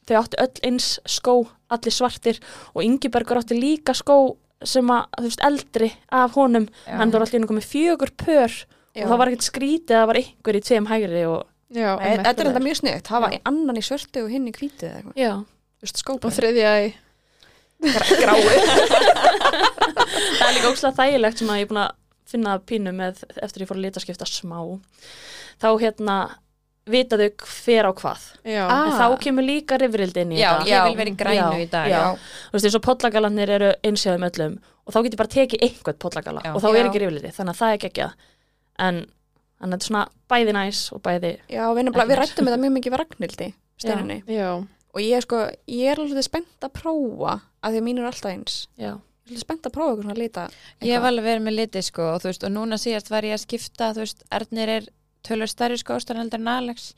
D: þau áttu öll eins skó allir svartir og Ingibergur átti líka skó sem að, þú veist, eldri af honum,
A: Já.
D: hann var allir einu komið fjögur pör og það var ekkert skrítið að það var einhver í tveim hægri og
B: Já,
C: Nei,
B: einmitt.
C: Þetta er enda mjög sniðt, hafa annan í svörtu og hinn í hvítu eða eitthvað.
D: Já,
C: Þú veist, skópa
B: Og þriðja í...
C: gráu.
D: það er líka ókslega þægilegt sem að ég er búin að finna pínu með eftir ég fór að litaskipta smá þá hérna vita þau hver á hvað
B: Já.
E: Ah.
D: en þá kemur líka rifrildi inn í
A: Já,
D: þetta
A: ég vil vera í grænu
D: Já,
A: í dag.
D: já.
A: Já.
D: þú veist, eins og pollagalarnir eru einsjáðum öllum og þá getur bara tekið einhvern pollagala
A: Já.
D: og þá er
C: Já.
D: ekki rifliti, þannig að það er ekki ekki en, en þetta er svona bæði næs og bæði
C: Já, við, nefnilega- við
D: Ekki
C: rættum þetta mjög mikið varagnildi, steinunni.
B: Já.
C: Og ég, er sko, ég er alveg spennt að prófa, að því að mín er alltaf eins.
D: já,
C: Ég er alveg spennt að prófa eitthvað svona lita.
A: Ég hef alveg verið með liti sko og þú veist og núna síðast var ég að skipta þú veist Ernir er tölur stærri skóstan heldur en Alex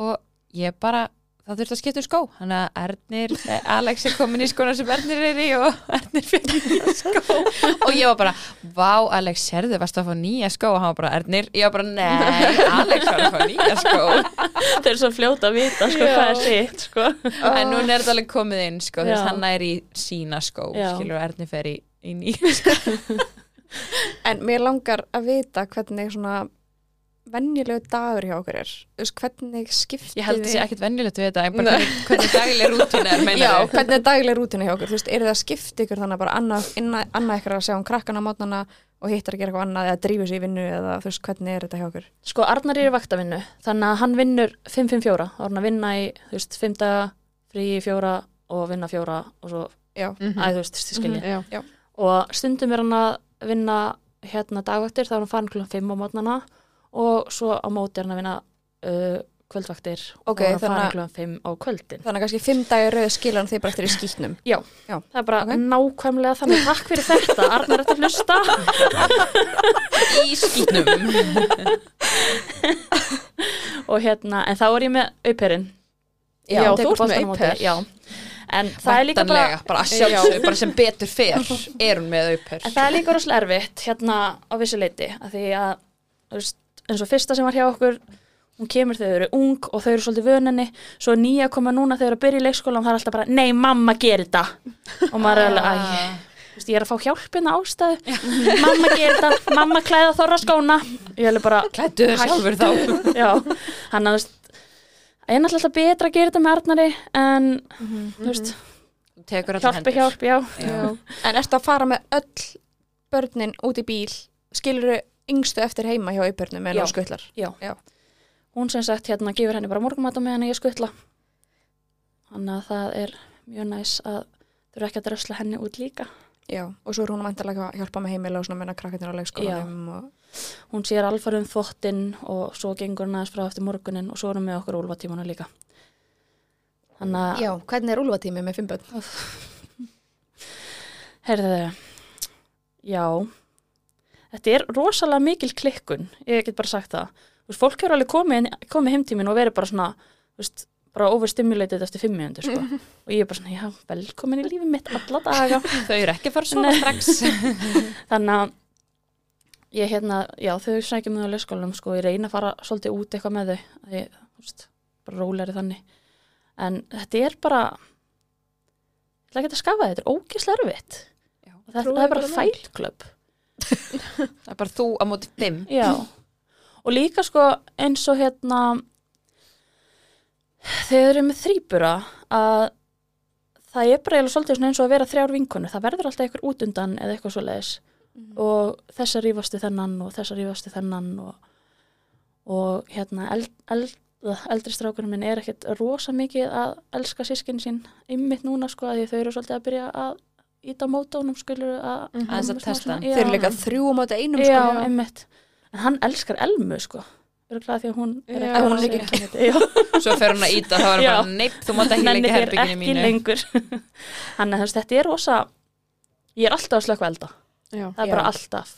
A: og ég bara það þurfti að skipta um skó þannig að Ernir, eh, Alex er komin í skóna sem Ernir er í og Ernir fekk nýja skó og ég var bara vá Alex, sérðu, varstu að fá nýja skó og hann var bara Ernir, ég var bara nei Alex var að fá nýja skó
D: það er svo fljóta að vita sko,
B: Já.
D: hvað er sitt sko.
A: en núna er þetta alveg komið inn sko þú veist
D: Já.
A: hann er í sína skó
D: Já.
A: skilur og Ernir fer í, í nýja skó
C: En mér langar að vita hvernig svona venjulegu dagur hjá okkur er. Þú veist, hvernig skiptið
A: ég held
C: þið-
A: þessi ekkit venjulegt við þetta en bara hvernig, hvernig daglega rútun er meina
C: Já, hvernig er dagleg rútina hjá okkur? Þú veist, er það að skipta ykkur þannig að bara annað, inna, annað ykkur að sjá um krakkana á mótnana og hittar að gera eitthvað annað eða drífur sér í vinnu eða þú veist, hvernig er þetta hjá okkur?
D: sko, Arnar er í vaktavinnu þannig að hann vinnur 5-5-4 þá er hann að vinna í, þú veist, 5 daga frí í 4 og vinna 4 og svo,
C: Já,
B: Mhm.
D: mm. þú veist, þið skilja
B: Já.
D: og stundum er hann að vinna hérna dagvaktir, þá er hann farin klukkan 5 á mótnana og svo á móti er hann að vinna uh, kvöldvaktir
C: Ok,
D: og er hann
C: þannig
D: farin
C: að-
D: klukkan 5 á kvöldin
C: þannig að kannski fimm dagir rauð skilan þið bara eftir í skýtnum.
D: það er bara
C: Ok.
D: nákvæmlega þannig takk fyrir þetta, Arnar er þetta að hlusta
E: í skýtnum
D: og hérna, en þá er ég með auperinn
B: Já,
D: Ég
B: þú
D: tek
B: ert með
D: boltann á móti,
B: au pair.
D: já. en það er líka bara
E: Væntanlega, bara að sjálfsögðu, bara sem betur fer er hún með auper
D: En það er líka rosalega erfitt hérna á vissu leiti að því að þú veist, eins og fyrsta sem var hjá okkur hún kemur þau eru ung og þau eru svolítið vönenni svo er nýja að koma núna þau eru að byrja í leikskóla og það er alltaf bara, nei mamma gerir þetta og maður er alveg, æ
A: Ah,
D: þú veist, ég er að fá hjálpina ástæðu mamma gerir þetta, mamma klæða þorra skóna ég er alveg bara,
E: Klættu þau sjálfur þá
D: já hann að þú veist, ég er náttúrulega alltaf betra að gera þetta með Arnari en þú veist,
A: Mm-hmm.
E: Tekur allar
D: hjálpi
E: hendur
D: hjálp, já
C: En ertu að fara með öll börnin út í bíl, skilur þau yngstu eftir heima hjá auðbörnum en
D: Já.
C: á skutlar?
D: hún sem sagt hérna gefur henni bara morgumat á meðan ég skuttla þannig að það er mjög næs að þurfa ekki að drösla henni út líka
C: Já, og svo er hún að mæntalega að hjálpa með heimila og svona menna krakkarnir á leikskólanum og...
D: hún sér alfar um þvottinn og svo gengur hann aðeins frá eftir morgunin og svo erum við okkur úlfatímanu líka þannig að
C: Já, hvernig er úlfatími með fimm börn?
D: heyrðu já þetta er rosalega mikil klikkun ég get bara sagt það Þú veist, fólk hefur alveg komið, inn- komið heimtímin og verið bara svona þú veist, bara overstimulated eftir fimm minundir sko. og ég er bara svona, já, velkomin í lífi mitt alla daga
A: Þau eru ekki að fara svona strax
D: þannig að ég hérna, já þau sækjum mig á leikskólanum sko, ég reyna að fara svolítið út eitthvað með þau að ég, þú veist, bara róleri þannig en þetta er bara það er ekki að skafa þetta, þetta er ógislega erfitt
A: Já.
D: og það,
B: Trúðu
D: það er bara
B: bara mér.
D: fælklöp
A: það er bara þú á móti fimm
D: Já, og líka sko eins og hérna þegar þau eru með þrýbura að það er bara eiginlega svolítið svona eins og að vera þrjár vinkonu það verður alltaf eitthvað út undan eða eitthvað svoleiðis
C: Mhm.
D: og þess að rífast við þennan og þess að rífast við þennan og, og hérna eld, eld, eldri strákurinn minn er ekkert rosa mikið að elska sískin sín ymmit núna sko að því þau eru svolítið að byrja að íta á mótónum skilur að
B: Mhm.
A: Aðeins að
D: svona-
A: testa hann.
D: já.
C: Þeir eru líka þrjú á móti einum
D: Já,
C: sko.
D: einmitt. En hann elskar Elmu, sko. Örgulega því að hún er
B: Já,
C: hún er
D: að
C: ekki
D: segja henni þetta.
A: svo fer hún að íta, þá er hún
D: Já.
A: bara neitt þú mátt
D: Já,
A: ekki
D: Nenni
A: leika
D: þér
A: herbygginu
D: ekki
A: mínu
D: lengur. Þannig að þú veist, þetta er rosa, ég er alltaf að slökka elda.
B: Já.
D: Það er bara
C: Já.
D: alltaf.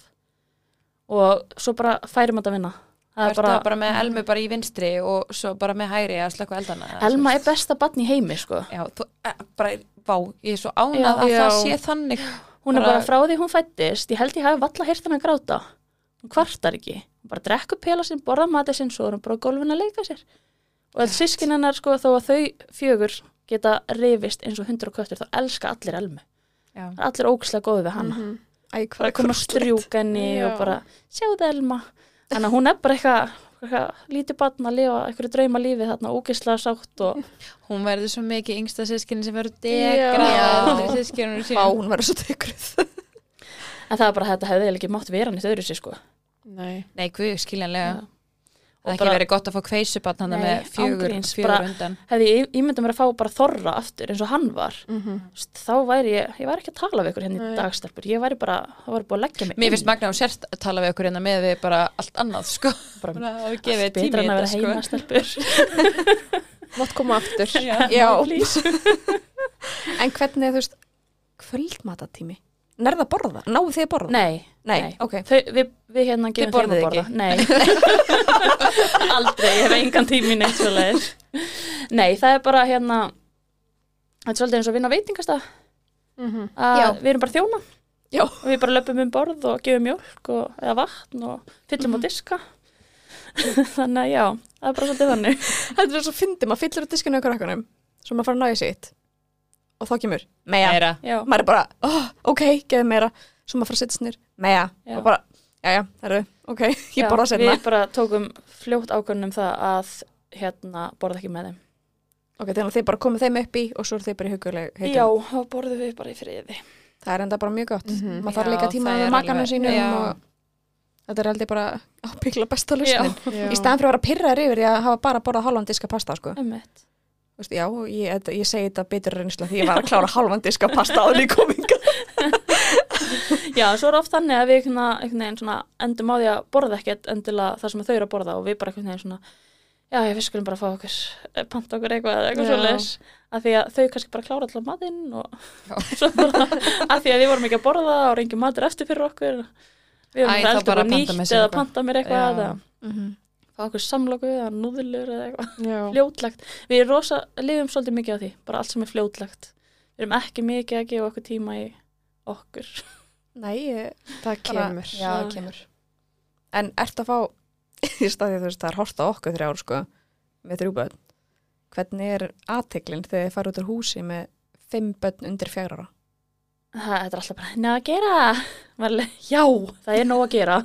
D: Og svo bara færum þetta að vinna. Það
A: það
D: er bara,
A: bara með Elmu bara í vinstri og svo bara með hægri að slökka eldana
D: Elma er besta barn í heimi, sko.
A: já, þú, eh, bara, vá, ég er svo ánað að
B: Já.
A: það sé þannig
D: Hún er
A: Bara-
D: bara frá því hún fættist, ég held ég hafi valla heyrt hann að gráta. Hún kvartar ekki. Hún bara drekkur pela sinn, borða matið sinn, svo er hún bara á gólfinu að leika sér. Og all sískin hennar sko þó að þau fjögur geta rifist eins og hundur og köttur, þá elska allir elmu.
A: já.
D: Það er allir ógislega góðu við hana.
B: Mhm.
C: Æ, hvað
D: Bara
C: er
D: koma að
C: krúttlegt.
D: strjúka henni
B: Já.
D: og bara sjáðu elma. Þannig að hún er bara eitthvað, eitthvað lítið barn að lifa einhverju drauma lífi þarna ógislega sátt og
A: hún verður svo mikið yngsta sískinni sem verður
B: Já.
A: degra sískinni
C: Vá,
A: sín
C: hún verður svo tegruð.
D: en það er bara að þetta hefði eiginlega ekki mátt vera nýtt öðru sér sko.
B: Nei.
A: nei, guð, skiljanlega
D: Já.
A: það
D: Og
A: er ekki
D: bara-
A: verið gott að fá kveisubann hann
D: Nei,
A: með fjögur,
D: ángríns,
A: fjögur
D: bara-
A: undan
D: Hefði ég ímyndum mér að fá bara þorra aftur eins og hann var.
B: Mm
D: Þú veist, þá væri ég, ég væri ekki að tala við ykkur hérna
B: Nei.
D: í dagstelpur, ég væri bara, það væri búið að leggja mig
A: Mér finnst magna hún sérst að tala við okkur hérna með við bara allt annað sko
D: Bara-
A: Bara að við
D: gefið
A: gefið tími í
D: betra en að
A: þetta,
D: vera
A: sko.
D: heima stelpur.
B: Mátt koma aftur.
C: Já.
D: Please.
C: En hvernig, þú veist, kvöldmatatími? Nærða að borða? Náðu þið að borða?
D: Nei,
C: Nei, ok.
D: Þau, við, við hérna gefum þeim
C: borðið
D: að borða. Nei, aldrei, ég hef engan tími neitt svo leiðis. Nei, það er bara hérna, þetta er svolítið eins og að vinna á veitingastað,
B: Mm -hmm.
D: að
C: Já.
D: við erum bara þjóna.
C: Já.
D: Og við bara löpum um borð og gefum mjölk og, eða vatn og fyllum á diska. Þannig að já, það er bara svolítið þannig.
C: Þetta er svo fyndið, maður fyllir á diskinu á krakkanum, svo maður fara að nája sitt og þá kemur, meja.
A: Meira.
D: Já.
C: Maður er bara, oh, ok, geðu meira, svo maður fara að sitt snir, meja.
D: Já.
C: Og bara, já, já, það eru, ok, ég
D: Já,
C: borða setna.
D: Við bara tókum fljótt ákvörnum það að hérna, borða ekki með þeim.
C: Ok, þannig að þið bara komið þeim upp í og svo eru þið bara í huguleg
D: Já, þá borðum við bara í friði.
C: Það er enda bara mjög gott.
B: Mhm.
C: Maður þarf
A: Já,
C: líka tíma
A: það
C: með
A: er
C: makanum
A: alveg-
C: sínum
A: já.
C: og þetta er aldrei bara ábyggla besta lusnin.
B: Já.
C: Í staðan fyrir að vera pyrraður yfir ég að hafa bara borðað hálfan diska pasta, sko.
D: Ömmett.
C: Þú Veist, já, ég, þetta- ég segi þetta betur reynsla því ég var að klára hálfan diska pasta áður í kominga.
D: Já, svo er oft þannig að við einhvern einhvern veginn svona endum á því að borða ekkert endilega það sem þau eru að borða og við bara einhvern veginn svona já, ég finnst skulum bara fá okkur, eh, panta okkur eitthvað eða eitthvað
B: Já.
D: svoleiðis. Af því að þau kannski bara klára allar matinn og svo bara af því að við vorum ekki að borða og reyngjum matur eftir fyrir okkur.
A: Æ,
D: Við
A: þá
D: vorum bara
A: bara
D: eldur bara
A: panta
D: nýtt
A: mér sér
D: eða
A: eitthvað.
D: panta mér eitthvað
A: Já.
D: eða
B: Mhm.
D: fá okkur samloku eða núðlur eða eitthvað.
B: Já.
D: fljótlegt. Við erum rosa, lifum svolítið mikið á því, bara allt sem er fljótlegt. Við erum ekki mikið að gefa okkur tíma í okkur.
C: Nei, ég-
B: Það
C: bara-
B: kemur.
C: Já, það kemur. En ert að fá, í staði þú veist, það er hort á okkur þrjár, sko, með þrjú börn. Hvernig er aðteklinn þegar þið fara út úr húsi með fimm börn undir fjagra?
D: Það þetta er alltaf bara, ná að gera. Maður er alveg, já, það er nóg að gera.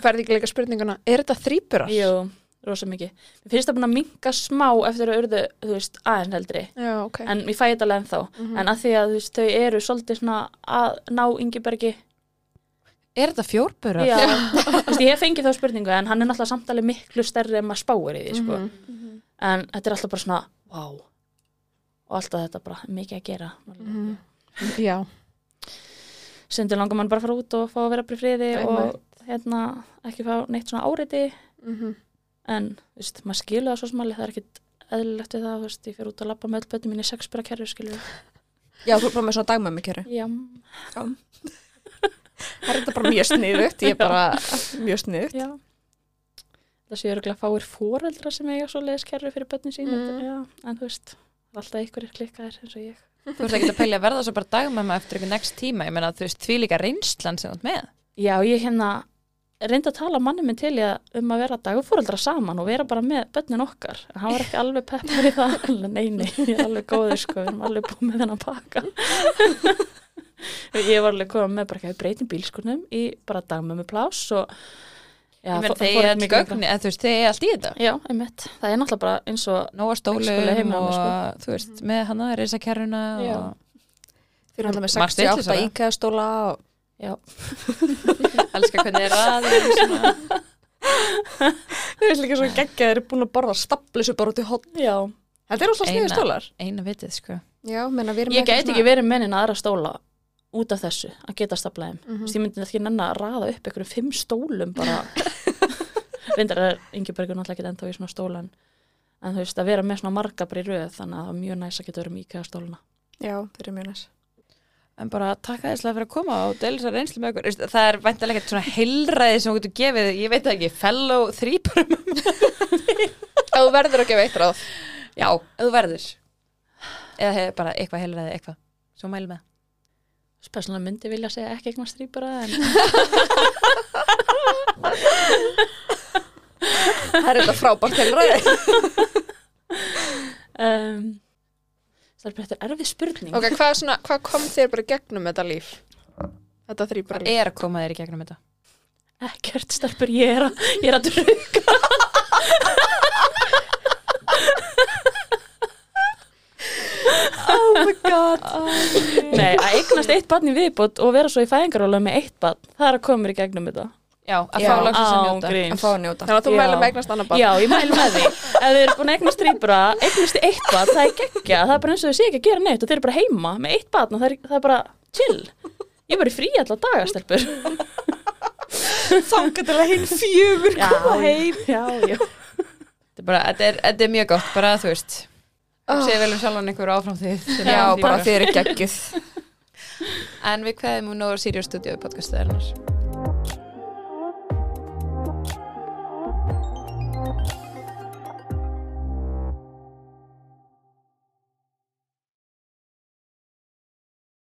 B: Færði ekki líka spurninguna, er þetta þrýburar?
D: Jú, rosa mikið. Mér finnst það búin að minka smá eftir að urðu, þú veist, aðeins heldri.
B: Já, ok.
D: En mér fæ þetta alveg ennþá.
B: Mhm.
D: En að því að þú veist, þau eru svolítið svona að ná Ingibergi.
A: Er þetta fjórburar?
D: Já, þú veist, ég hef fengið þá spurningu en hann er náttúrulega samtalið miklu stærri en maður spáir í því, sko.
B: Mhm.
D: en þetta er alltaf bara svona wow. og alltaf þetta bara mikið að gera
B: Mhm. Já.
D: stundur langar mann bara að fara út og fá að vera bara í friði
B: Einmitt.
D: og hérna ekki fá neitt svona áreiti
B: Mhm.
D: en þú veist, maður skilur það svo smáli það er ekkit eðlilegt við það, þú veist, ég fyrir út að labba með öll bönnum mín í sexbæra kerfi, skilur
C: Já, þú er bara með svona dagmömmu kjöru.
D: Já,
C: Það er þetta bara mjög sniðugt, ég er bara mjög sniðugt.
D: já Þessi örgulega fáir foreldra sem eiga svo leiðis kerfi fyrir bönnin sín
B: Mhm.
D: þetta, já, en þú veist, alltaf einhverjir klikkaðir eins og ég
A: Þú ert ekki að pælja að verða svo bara dagmæma eftir ykkur next tíma ég meina þú veist því líka reynslan sem þú ert með
D: Já, ég hérna reyndi að tala manni minn til ég um að vera dagfóreldra saman og vera bara með börnin okkar en hann var ekki alveg peppar í það alveg, nei, nei, ég er alveg góður sko við erum alveg búin með þennan pakka ég var alveg komið með bara ekki að breytin bílskunum sko, í bara dagmömmu plás og já,
A: ég menn
D: fó-
A: þeir
D: fór
A: eru
D: ekki
A: allt
D: mikið lengra.
A: gögn eða þú veist, þeir eru allt í þetta
D: já, einmitt, það er náttúrulega bara eins og
A: nóga
D: Leikskóli
A: stólum
D: heima
A: og
D: með, sko.
A: þú veist, með hana, risakerruna
D: Já.
A: og
C: Þeir eru alltaf með
A: Margt vitlausara.
C: 68 íkæðastóla og
A: elska hvernig er ræði
C: Þeir eru líka svo geggja þeir eru búin að borða staplusu bara út í hot
D: já,
C: Þetta er óslega sniðu
A: Eina.
C: stólar
A: eina vitið sko
C: Já, menna við erum
D: ég gæti ekki verið með neina aðra stóla út af þessu að geta staflaðið mm
B: Mhm.
D: -hmm. ég myndi ekki nenn að raða upp einhverjum fimm stólum bara vindar er Ingebergur náttúrulega ekki ennþá í svona stólan en þú veist að vera með svona marga bara í röð þannig að það var mjög næs að geta verið með íkæða stóluna
C: Já, þeir eru mjög næs
A: En bara takk aðeinslega fyrir að koma og deil þessar reynslu með okkur. Veist, Það er væntalega eitthvað svona heilræði sem þú getur gefið, ég veit það ekki, fellow þrýparum.
E: Ef þú verður að gefa eitt ráð
A: Já, ef þú verður. Eða hef, bara eitthvað heilræði, eitthvað. Svo mælum með.
D: speslega myndi vilja segja ekki eitthvað strýpura en
E: Það er þetta frábært heilræði
D: um, það er bara þetta er erfið spurning
B: Ok, hvað, svona, hvað kom þér bara í gegnum þetta líf? Þetta þrýbara líf.
A: Ég er að koma þér í gegnum þetta.
D: ekkert stelpur, ég er að ég er að drukka
A: Oh my god.
D: nei, að eignast eitt barn í viðbót og vera svo í fæðingaróla með eitt barn það er að koma mér í gegnum þetta
A: Já, að
C: Já,
A: fá lagsins að
D: Án
A: njóta.
D: gríns.
C: Að fá að njóta
B: Þannig að þú
D: Já.
B: mælum eignast annar barn.
D: Já, ég mælu með því. Ef þið eru búin að eignast þrýbura, eignast þið eitt barn, það er geggja. Það er bara eins og þau sé ekki að gera neitt og þau eru bara heima með eitt barn og það er, það er bara chill. Ég er bara í frí alltaf dagastelpur.
C: Þangatilega hinn fjögur
D: Já, heim. Já, já.
A: Þetta er bara, þetta er, þetta er mjög gott, bara þú veist. Oh. Sér vel um sjálfan ykkur áfram því.
C: Já, bara þeir eru geggjuð
A: En við kveðum úr Nóður Sirius Studio podcastaðarinnar.